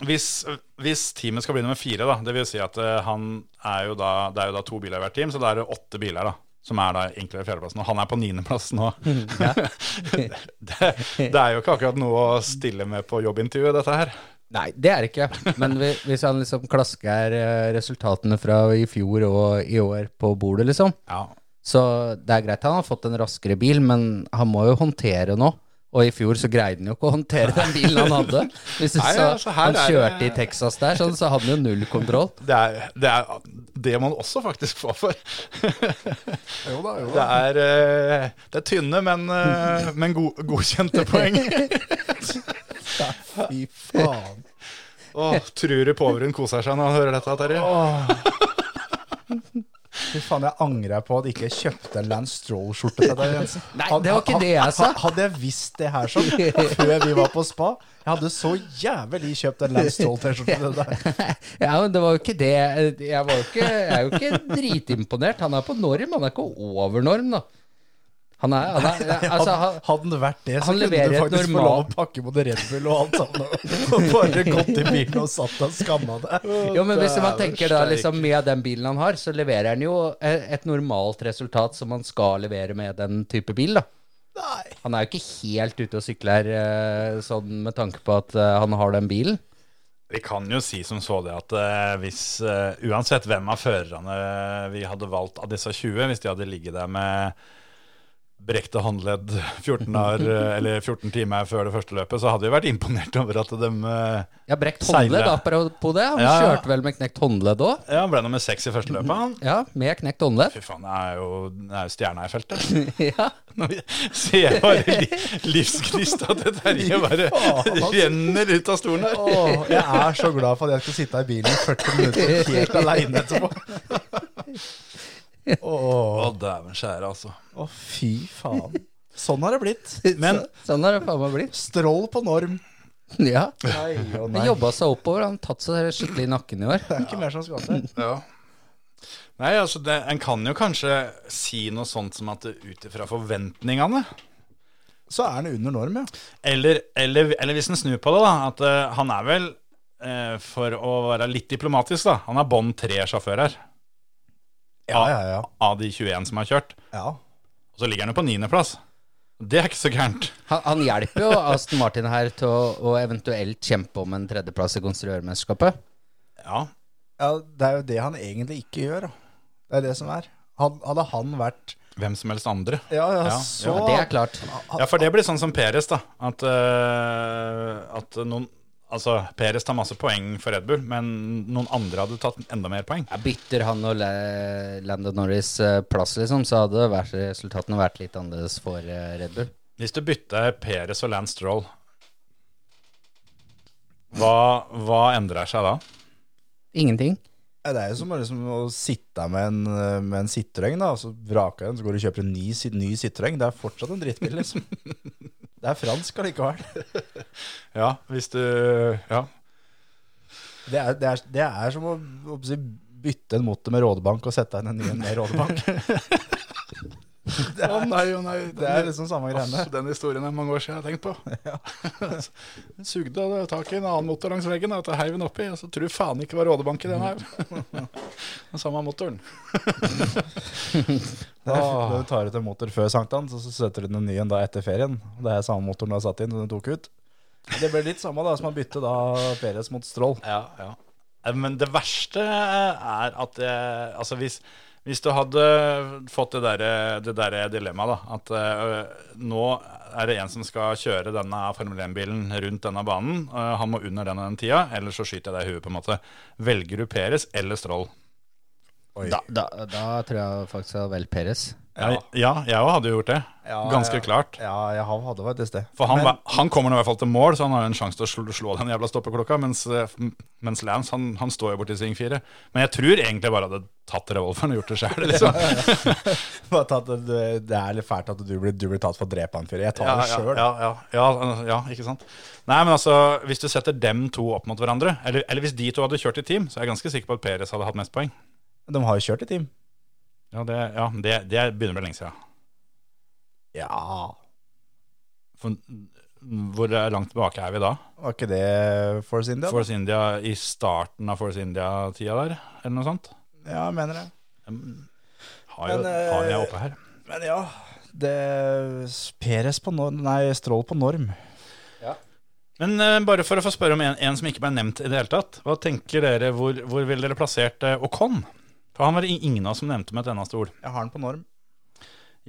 C: hvis, hvis teamet skal bli nummer fire, da, det vil si at eh, han er jo da, det er jo da to biler i hvert team, så da er det åtte biler da, som er da inkludert fjerdeplassen, og han er på niendeplass nå. det, det er jo ikke akkurat noe å stille med på jobbintervjuet, dette her.
D: Nei, det er det ikke. Men vi- hvis han liksom klasker eh, resultatene fra i fjor og i år på bordet, liksom,
C: Ja,
D: så det er greit. Han har fått en raskere bil, men han må jo håndtere nå. Og i fjor så greide han jo ikke å håndtere den bilen han hadde. Hvis du
C: Nei,
D: så,
C: altså, her
D: han
C: er
D: kjørte i
C: det-
D: Texas der, sånn, så hadde han jo null kontroll.
C: det er det, er det man også faktisk får for.
E: Jo da, jo
C: Det er, eh, det er tynne, men, eh, men go godkjente poeng.
E: Fy faen.
C: Åh, tror du Påverun koser seg når han hører dette, Terje?
E: fy faen, jeg angrer på at jeg ikke kjøpte en Lance Stroll-skjorte til deg, Jensen.
D: Nei,
E: Had-
D: det var ikke det jeg
E: ha-
D: sa.
E: ha- Hadde jeg visst det her sånn før vi var på spa, jeg hadde så jævlig kjøpt en Lance Stroll-T-skjorte til deg.
D: Ja, men det var jo ikke det. Jeg, var jo ikke, jeg er jo ikke dritimponert. Han er på norm, han er ikke over norm, da. Han er, han er altså, han,
E: Hadde hadde den vært det, så
D: han
E: kunne
D: leverer
E: du
D: et
E: faktisk få lov
D: normalt-
E: å pakke både Red Bull og alt sammen. Og bare gått i bilen og satt deg og skamma deg.
D: jo, men hvis man tenker da liksom med den bilen han har, så leverer han jo eh, et normalt resultat som man skal levere med den type bil, da.
E: Nei.
D: Han er jo ikke helt ute og sykler eh, sånn med tanke på at eh, han har den bilen.
C: Vi kan jo si som så det at eh, hvis eh, Uansett hvem av førerne vi hadde valgt av disse 20, hvis de hadde ligget der med brekte håndledd 14, år, eh, eller 14 timer før det første løpet, så hadde vi vært imponert over at de eh,
D: Ja, brekt
C: Seile.
D: håndledd, apropos det. Han
C: Ja, ja.
D: kjørte vel med knekt håndledd òg?
C: ja, ble nummer seks i første løpet. Han.
D: Ja, med knekt håndledd.
C: Fy faen, det er jo, det er jo stjerna i feltet.
D: ja.
C: Når vi ser bare li livsgnista til Terje bare renner ut av stolen her.
E: Åh, jeg er så glad for at jeg skal sitte i bilen i 40 minutter helt aleine etterpå. Åh,
C: Å, dæven skjære, altså.
E: åh, fy faen. Sånn har det blitt.
C: Men
D: Sånn har det faen meg blitt.
E: Strål på norm.
D: Ja.
E: Nei, å
D: Han jobba seg oppover. Han tatt seg skikkelig i nakken i år.
E: Det er ikke mer som skal til.
C: Ja. Nei, altså, det, en kan jo kanskje si noe sånt som at det ut ifra forventningene
E: Så er den under norm, ja.
C: eller, eller, eller hvis en snur på det, da, at eh, han er vel eh, for å være litt diplomatisk, da. Han er bånd tre sjåfører
E: Ja, ja, ja.
C: av de 21 som har kjørt.
E: ja.
C: Og så ligger han jo på niendeplass. Det er ikke så gærent.
D: Han, han hjelper jo Aston Martin her til å, å eventuelt kjempe om en tredjeplass i konstruørmesterskapet.
C: Ja,
E: ja. Det er jo det han egentlig ikke gjør, da. Det er det som er. Han, hadde han vært
C: hvem som helst andre.
E: Ja, ja,
C: Ja,
E: så
D: Ja, det er klart.
C: Ja, for det blir sånn som Peres, da. At, eh, at noen Altså, Peres tar masse poeng for Red Bull, men noen andre hadde tatt enda mer poeng.
D: Ja, bytter han og Le- Lando Norris eh, plass, liksom, så hadde vært, resultatene vært litt annerledes for eh, Red Bull.
C: Hvis du bytter Peres og Lance Stroll, hva, hva endrer seg da?
D: Ingenting.
E: Ja, Det er jo som å liksom å sitte her med en, eh, med en Citroën, da, og så vraker den, så går du og kjøper en ny, sit- ny Citroën. Det er fortsatt en drittbil, liksom. Det er fransk allikevel.
C: Ja, hvis du Ja.
E: Det er, det er, det er som å, å si, bytte en motor med rådebank og sette inn en ny en med rådebank.
C: Å nei, å nei.
E: Det er liksom samme greiene.
C: den historien er mange år siden jeg har tenkt på. Hun sugde av tak i en annen motor langs veggen og heiv den oppi. Og så tror faen ikke det var rådebank i den her. Den samme motoren.
E: Det er-
C: Ah.
E: Du tar ut en motor før sankthans, og så setter du inn en ny en da etter ferien. Og Det er samme motoren du har satt inn, som du tok ut. Det ble litt samme da som å bytte da Perez mot Stroll.
C: Ja, ja. Eh, Men det verste eh, er at jeg, altså hvis, hvis du hadde fått det derre det derre dilemmaet, da, at eh, nå er det en som skal kjøre denne Formel 1-bilen rundt denne banen, eh, han må under den og den tida, eller så skyter jeg deg i huet, på en måte. Velger du Peres eller Stroll?
D: Da, da, da tror jeg faktisk det var vel Peres.
C: Ja, ja jeg òg hadde jo gjort det.
E: Ja,
C: Ganske
E: ja.
C: klart.
E: Ja, jeg har- hadde vært et sted.
C: For han,
E: Men-
C: var- han kommer nå i hvert fall til mål, så han har jo en sjanse til å slå, slå den jævla stoppeklokka. Mens, eh, mens Lance han, han står jo borti sving fire. Men jeg tror egentlig bare hadde tatt revolveren og gjort det sjæl. Liksom.
E: Bare tatt, en- det er litt fælt at du blir, du blir tatt for å drepe en fyr. Jeg tar
C: Ja,
E: det
C: ja,
E: sjøl.
C: ja, ja, ja, ja, ikke sant. Nei, men altså, hvis du setter dem to opp mot hverandre, eller, eller hvis de to hadde kjørt i team, så er jeg ganske sikker på at Peres hadde hatt mest poeng.
E: De har jo kjørt i team.
C: Ja, det, ja, det, det begynner å bli lenge siden.
E: Ja
C: For, hvor langt tilbake er vi da?
E: Var ikke det Force India?
C: Force India i starten av Force India-tida der, eller noe sånt?
E: Ja, jeg mener det.
C: Har jo,
E: Men, eh,
C: har jeg oppe her.
E: Men ja, det Peres på norm Nei, Strål på norm.
C: Men eh, bare for å få spørre om en, en som ikke ble nevnt i det hele tatt. Hva tenker dere, hvor, hvor ville dere plassert eh, Ocon? For han var det ingen av oss som nevnte med et eneste ord.
E: Jeg har den på norm.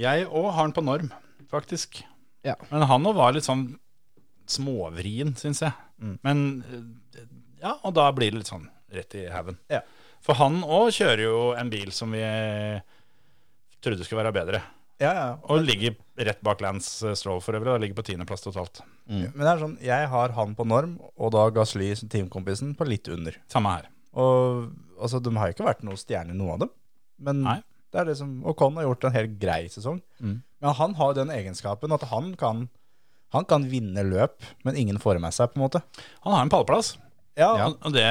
C: Jeg òg har den på norm, faktisk.
D: Ja.
C: Men han òg var litt sånn småvrien, syns jeg. Men eh, ja, og da blir det litt sånn rett i haugen.
E: Ja.
C: For han òg kjører jo en bil som vi eh, trodde skulle være bedre.
E: Ja, ja.
C: Og ligger rett bak Lance Stroll for øvrig. Da ligger på tiendeplass totalt.
E: Men det er sånn, jeg har han på norm, og da Gasly, som teamkompisen, på litt under.
C: Samme her.
E: Og altså, de har jo ikke vært noen stjerne, noen av dem. Men
C: Nei. Mm.
E: Det er liksom, Ocon har gjort en helt grei sesong. Men han har den egenskapen at han kan, han kan vinne løp, men ingen får det med seg, på en måte.
C: Han har en pallplass,
E: Ja,
C: og det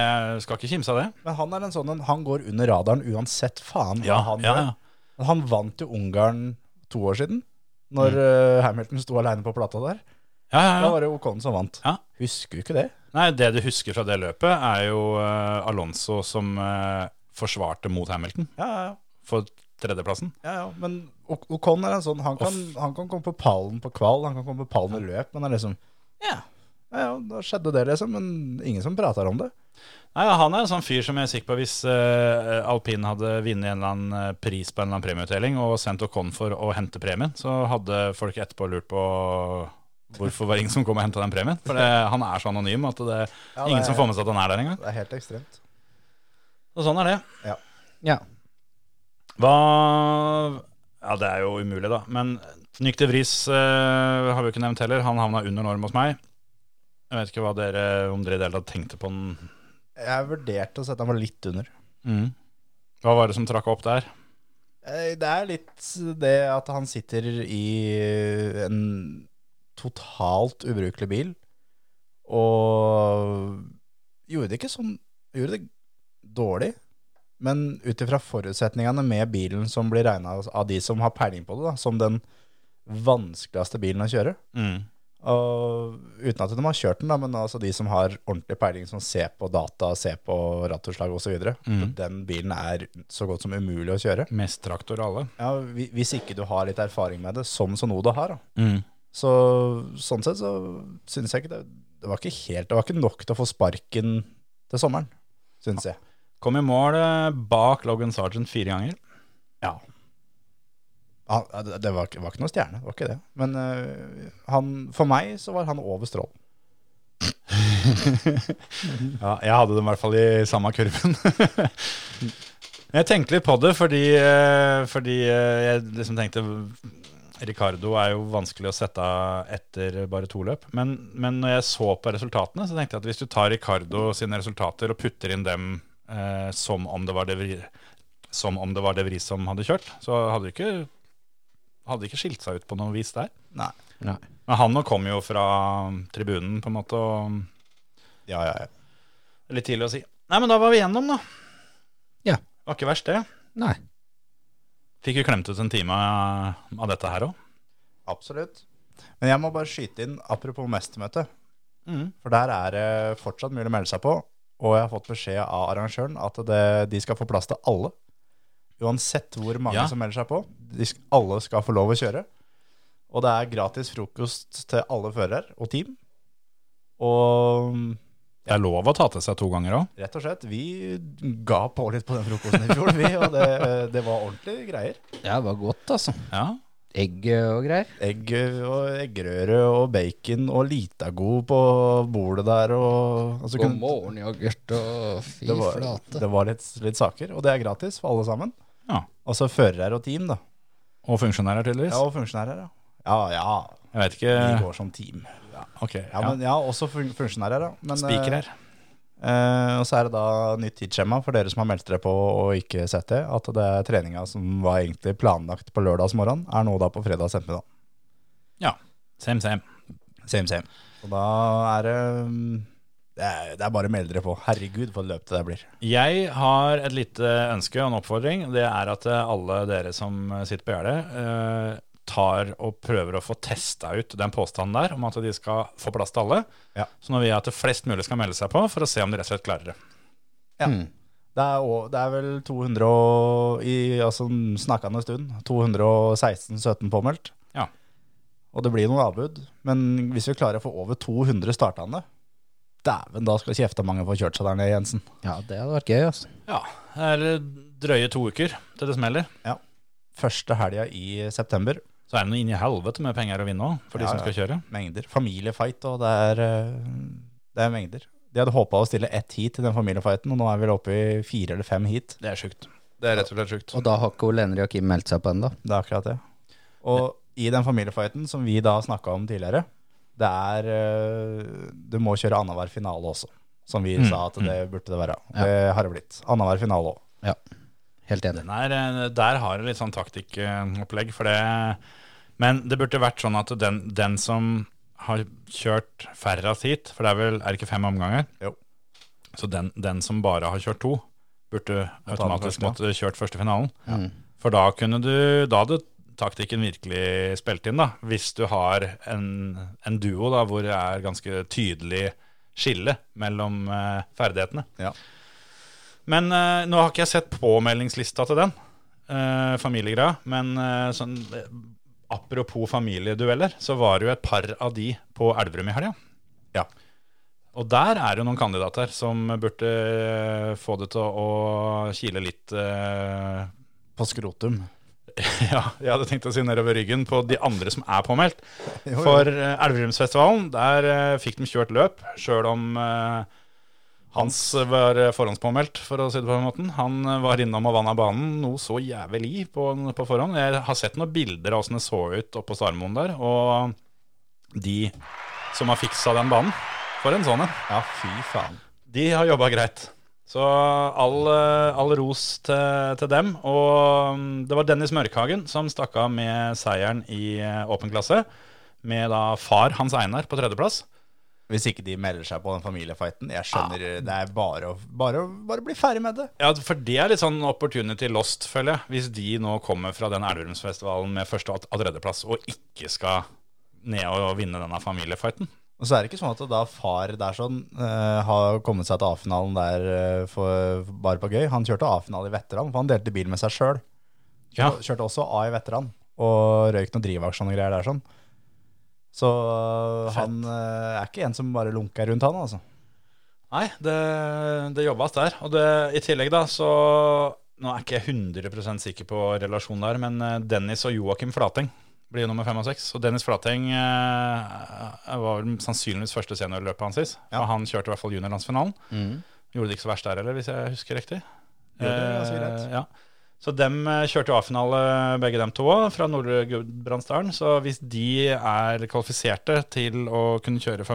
C: skal ikke kimse av det.
E: Men han er en sånn en, han går under radaren uansett faen hva
C: Ja,
E: han
C: ja,
E: gjør.
C: ja.
E: Men Han vant jo Ungarn to år siden, når eh, Hamilton sto aleine på plata der.
C: Ja, ja,
E: Da
C: ja.
E: var det Ocon som vant.
C: Ja.
E: Husker du ikke det?
C: Nei, Det du husker fra det løpet, er jo eh, Alonso som eh, forsvarte mot Hamilton
E: Ja, ja, ja.
C: for tredjeplassen.
E: Ja, ja, men O- Ocon er en sånn han kan, han kan komme på pallen på kval, han kan komme på pallen i løp, men det er liksom ja. ja, ja, da skjedde det, liksom, men ingen som prater om det.
C: Nei, Han er en sånn fyr som jeg er sikker på hvis eh, alpin hadde vunnet en eller annen eh, pris på en eller annen premieutdeling og sendt Ocon for å hente premien, så hadde folk etterpå lurt på hvorfor var det ingen som kom og henta den premien. For det, han er så anonym at det,
E: Ja,
C: er ingen
E: det-
C: som får med seg at han er der engang.
E: Det er helt ekstremt.
C: Og sånn er det.
D: Ja.
C: Hva Ja, det er jo umulig, da. Men Nyk de Vris eh, har vi jo ikke nevnt heller. Han havna under norm hos meg. Jeg vet ikke hva dere, om dere i det hele tatt tenkte på den.
E: Jeg vurderte å sette han var litt under.
C: Hva var det som trakk opp der?
E: Eh, Det er litt det at han sitter i en totalt ubrukelig bil, og gjorde det ikke sånn Gjorde det dårlig, men ut ifra forutsetningene med bilen som blir regna av de som har peiling på det, da, som den vanskeligste bilen å kjøre. Og uten at de har kjørt den, da, men altså de som har ordentlig peiling, som ser på data, ser på rattutslag osv. Mm. Den bilen er så godt som umulig å kjøre.
C: Mest traktor av alle.
E: Ja, hvi- Hvis ikke du har litt erfaring med det, som Sonoda har. Da. Så sånn sett så syns jeg ikke det Det var ikke helt Det var ikke nok til å få sparken til sommeren, syns jeg.
C: Kom i mål eh, bak Logan Sergeant fire ganger.
E: Ja. Han, det- det var, ikke- var ikke noe stjerne, det var ikke det. Men øh, han, for meg så var han over strål.
C: Ja, jeg hadde dem i hvert fall i samme kurven. jeg tenkte litt på det fordi, eh, fordi eh, jeg liksom tenkte Ricardo er jo vanskelig å sette av etter bare to løp. Men, men når jeg så på resultatene, så tenkte jeg at hvis du tar Ricardo sine resultater og putter inn dem eh, som om det var De Vri- som om det var De Vries som hadde kjørt, så hadde det ikke, hadde det ikke skilt seg ut på noe vis der.
E: Nei.
D: Nei.
C: Men han nå kom jo fra tribunen, på en måte. og...
E: Ja, ja, ja.
C: Litt tidlig å si. Nei, men da var vi igjennom, da.
D: Ja.
C: Var ikke verst, det.
D: Nei.
C: Fikk jo klemt ut en time av av dette her òg.
E: Absolutt. Men jeg må bare skyte inn apropos mestermøte. For der er det fortsatt mulig å melde seg på. Og jeg har fått beskjed av arrangøren at det, de skal få plass til alle. Uansett hvor mange
C: Ja.
E: som melder seg på. De, sk- alle skal få lov å kjøre. Og det er gratis frokost til alle førere og team. Og mm,
C: Det er lov å ta til seg to ganger òg.
E: rett og slett, vi ga på litt på den frokosten i fjor, vi. Og det, det var ordentlige greier.
D: Ja, det var godt, altså.
C: Ja.
D: Egg eh, og greier.
E: Egg og eggerøre og bacon og litago på bordet der. Og, altså,
D: God
E: kunne-
D: morgen, yoghurt og fy
E: det var,
D: flate.
E: det var litt, litt saker, og det er gratis for alle sammen.
C: ja.
E: Altså førere og team, da.
C: Og funksjonærer, tydeligvis.
E: Ja, og funksjonærer, ja. Ja, ja.
C: Jeg vet
E: Vi
C: ikke
E: går som sånn team.
C: Ok.
E: Ja, men ja, også fun funksjonærer, ja. Men,
C: Spiker her.
E: eh, eh, og så er det da nytt tidsskjema for dere som har meldt dere på og ikke sett det, at det er treninga som var egentlig planlagt på lørdagsmorgen, er nå da på fredags ettermiddag.
C: Ja. Same, same.
E: Same, same. Og da er det mm, det er, det er bare å melde dere på. Herregud, for et løp det der blir.
C: Jeg har et lite ønske og en oppfordring. Det er at eh, alle dere som sitter på gjerdet, eh, tar og prøver å få testa ut den påstanden der om at de skal få plass til alle.
E: Ja.
C: Så nå vil jeg at flest mulig skal melde seg på for å se om de rett og slett klarer det.
E: Ja.
D: Mm.
E: Det er, å- det er vel 200 og, i altså, snakkende stund 216-17 påmeldt.
C: Ja.
E: Og det blir noen avbud. Men hvis vi klarer å få over 200 startende, dæven, da skal kjefta mange få kjørt seg der nede, Jensen.
D: Ja, det hadde vært gøy, altså.
C: Ja, eller drøye to uker til det smeller.
E: Første helga i september.
C: Så er det noe inn i helvete med penger å vinne òg, for de
E: Ja,
C: som
E: ja.
C: skal kjøre.
E: Mengder. Familiefight, og det er, eh, det er mengder. De hadde håpa å stille ett heat til den familiefighten, og nå er vi vel oppe i fire eller fem heat.
C: Det er sjukt. Det er rett og slett sjukt.
D: Og da har ikke Ole Henry og Kim meldt seg på ennå.
E: Det er akkurat det. Og i den familiefighten som vi da snakka om tidligere, det er eh, Du må kjøre annenhver finale også, som vi sa at det burde det være. Og Det har det blitt. Annenhver finale òg.
D: Ja. Helt enig.
E: Den er, eh, der har det litt sånn taktikkopplegg, for det Men det burde vært sånn at den, den som har kjørt færrest hit, for det er vel er det ikke fem omganger?
F: Jo.
E: Så den, den som bare har kjørt to, burde
F: den
E: automatisk
F: første, ja.
E: måtte kjørt første finalen.
D: Mm.
E: For da kunne du Da hadde taktikken virkelig spilt inn, da. Hvis du har en, en duo da, hvor det er ganske tydelig skille mellom eh, ferdighetene.
F: Ja.
E: Men eh, nå har ikke jeg sett påmeldingslista til den, eh, familiegreia. Men eh, sånn, eh, apropos familiedueller, så var det jo et par av de på Elverum i helga.
F: Ja.
E: Og der er det jo noen kandidater som burde eh, få det til å kile litt eh,
F: På skrotum.
E: ja, jeg hadde tenkt å si nedover ryggen på de andre som er påmeldt.
F: jo.
E: For eh, Elverumsfestivalen, der eh, fikk de kjørt løp, sjøl om eh, Hans var eh, forhåndspåmeldt, for å si det på den måten. Han eh, var innom og vanna banen noe så jævlig på, på forhånd. Jeg har sett noen bilder av åssen det så ut oppå Starmoen der, og de som har fiksa den banen, for en sånn en.
F: Ja, fy faen.
E: De har jobba greit. Så all, eh, all ros til, til dem. Og mm, det var Dennis Mørkhagen som stakk av med seieren i eh, åpen klasse. Med da far Hans Einar på tredjeplass.
F: Hvis ikke de melder seg på den familiefighten. Jeg skjønner, eh, det er bare å, bare, å- bare bli ferdig med det.
E: Ja, For det er litt sånn opportunity lost, føler jeg. Hvis de nå kommer fra den Elverumsfestivalen med første og og tredjeplass og ikke skal ned og vinne denne familiefighten.
F: Og så er det ikke sånn at da far der sånn eh, har kommet seg til A-finalen der eh, for, bare på gøy. Han kjørte A-finale i veteran, for han delte bil med seg sjøl.
E: Ja.
F: Kjørte også A i veteran, og røyk noen drivaksjer og noen greier der sånn. Så eh, han eh, er ikke en som bare lunker rundt han, altså.
E: Nei, det, det jobbes der. Og det, i tillegg da, så Nå er ikke jeg 100 sikker på relasjonen der, men eh, Dennis og Joakim Flateng blir jo nummer fem og seks. Og Dennis Flateng eh, var vel sannsynligvis første seniorløpet hans sist.
F: Ja.
E: Og han kjørte i hvert fall juniorlandsfinalen.
D: Mm.
E: Gjorde det ikke så verst der heller, hvis jeg husker riktig.
F: Gjorde det ganske greit.
E: Eh, ja. Så dem eh, kjørte jo A-finale, begge dem to, også, fra Nordre Gudbrandsdalen. Så hvis de er kvalifiserte til å kunne kjøre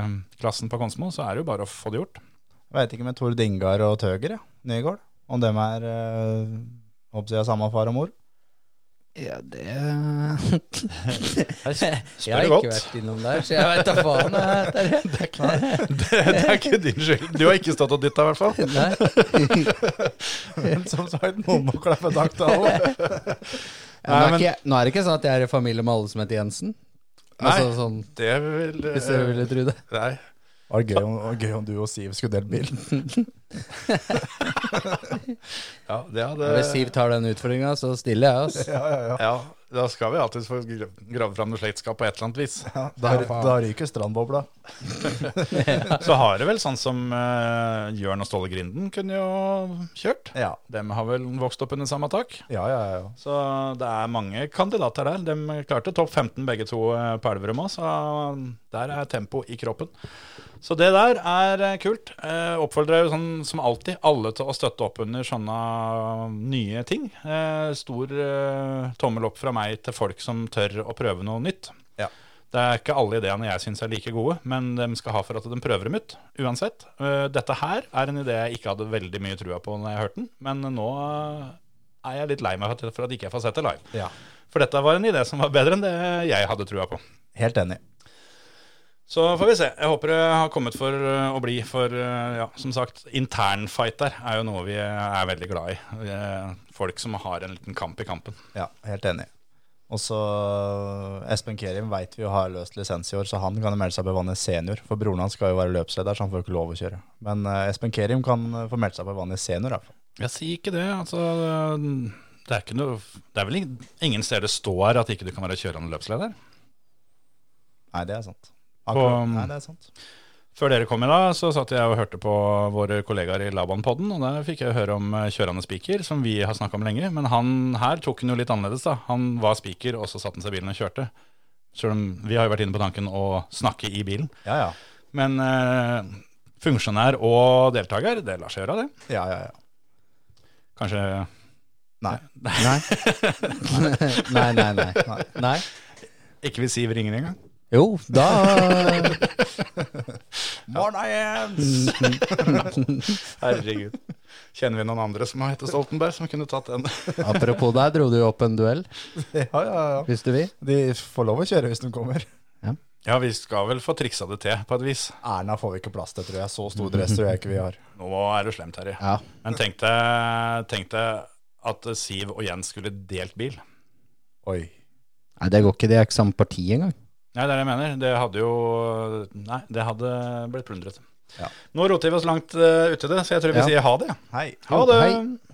E: familieklassen på Konsmo, så er det jo bare å få det gjort.
F: Jeg veit ikke med Tord Ingar og Tøger, ja. Nygaard. Om dem er eh, Håper jeg samme far og mor.
D: Ja, det
E: Spør
D: Jeg har ikke
E: du godt.
D: vært innom der, så jeg veit da faen. jeg, Terje.
E: Det, det er ikke din skyld. Du har ikke stått og dytta, i hvert fall.
D: Nei.
F: Men som sagt, noen må klappe takk til alle.
D: Nå,
E: Nei,
D: er
E: men-
D: ikke, jeg- nå er det ikke sånn at jeg er i familie med alle som heter Jensen. Altså,
E: Nei.
D: sånn,
E: Det vil eh,
D: hvis dere ville tro det.
E: Nei.
F: Var det gøy om, var det gøy om du og Siv skulle delt bil?
E: Ja,
D: Hvis
E: det hadde
D: Siv tar den utfordringa, så stiller jeg, altså.
F: Ja, ja, ja.
E: ja, Da skal vi alltids få gra- grave fram noe slektskap på et eller annet vis.
F: Ja, da, da ryker strandbobla.
E: Så har det vel sånn som eh, Jørn og Ståle Grinden kunne jo kjørt.
F: Ja,
E: Dem har vel vokst opp under samme tak.
F: ja, ja. ja.
E: Så det er mange kandidater der. De klarte topp 15 begge to eh, på Elverum òg, så der er tempo i kroppen. Så det der er eh, kult. Eh, oppfordrer jo sånn som alltid alle til å støtte opp under sånne nye ting. Eh, stor eh, tommel opp fra meg til folk som tør å prøve noe nytt.
F: Ja.
E: Det er ikke alle ideene jeg syns er like gode, men de skal ha for at de prøver dem ut. Uansett. Eh, dette her er en idé jeg ikke hadde veldig mye trua på når jeg hørte den, men nå eh, er jeg litt lei meg for at- for at ikke jeg får sett det live.
F: Ja.
E: For dette var en idé som var bedre enn det jeg hadde trua på.
F: Helt enig.
E: Så får vi se. Jeg håper det har kommet for eh, å bli, for eh, ja, som sagt, internfight der er jo noe vi er veldig glad i. Eh, Folk som har en liten kamp i kampen.
F: Ja, helt enig. Og så Espen Kerim veit vi jo har løst lisens i år, så han kan jo melde seg på vannet senior. For broren hans skal jo være løpsleder, så han får jo ikke lov å kjøre. Men eh, Espen Kerim kan eh, få meldt seg på vannet senior, i hvert fall.
E: Jeg sier ikke det. altså... Det er, ikke noe, det er vel ing- ingen steder det står at ikke du kan være kjørende løpsleder.
F: Nei, det er sant. Akkurat,
E: På-
F: nei, det er sant.
E: Før dere kom i dag, så satt jeg og hørte på våre kollegaer i Laban-podden, og der fikk jeg høre om eh, kjørende spiker, som vi har snakka om lenge. Men han her tok han jo litt annerledes, da. Han var spiker, og så satte han seg i bilen og kjørte. Selv om vi har jo vært inne på tanken å snakke i bilen.
F: Ja, ja.
E: Men eh, funksjonær og deltaker, det lar seg gjøre, det.
F: Ja, ja, ja.
E: Kanskje
F: Nei.
D: Nei. nei, nei, nei. nei.
E: ikke vil si ringene engang.
D: Jo, da
G: Morn, Jens!
E: Herregud. Kjenner vi noen andre som har hett Stoltenberg, som kunne tatt den?
D: Apropos der, dro du jo opp en duell,
G: Ja, ja, ja.
D: hvis du vil.
G: De får lov å kjøre hvis de kommer.
E: Ja, vi skal vel få triksa det til på et vis.
G: Erna får vi ikke plass til, tror jeg. Så stor dress tror jeg ikke vi har.
E: Nå er det slemt, Terje.
D: Ja.
E: Men tenk deg, tenk deg at Siv og Jens skulle delt bil.
G: Oi.
D: Nei, det går ikke. De er ikke samme parti engang.
E: Nei, det er det jeg mener. Det hadde jo Nei, det hadde blitt plundret.
G: Ja.
E: Nå roter vi oss langt eh, ute i det, så jeg tror vi
D: Ja.
E: sier ha det.
G: Hei.
E: Ha det!
D: Hei.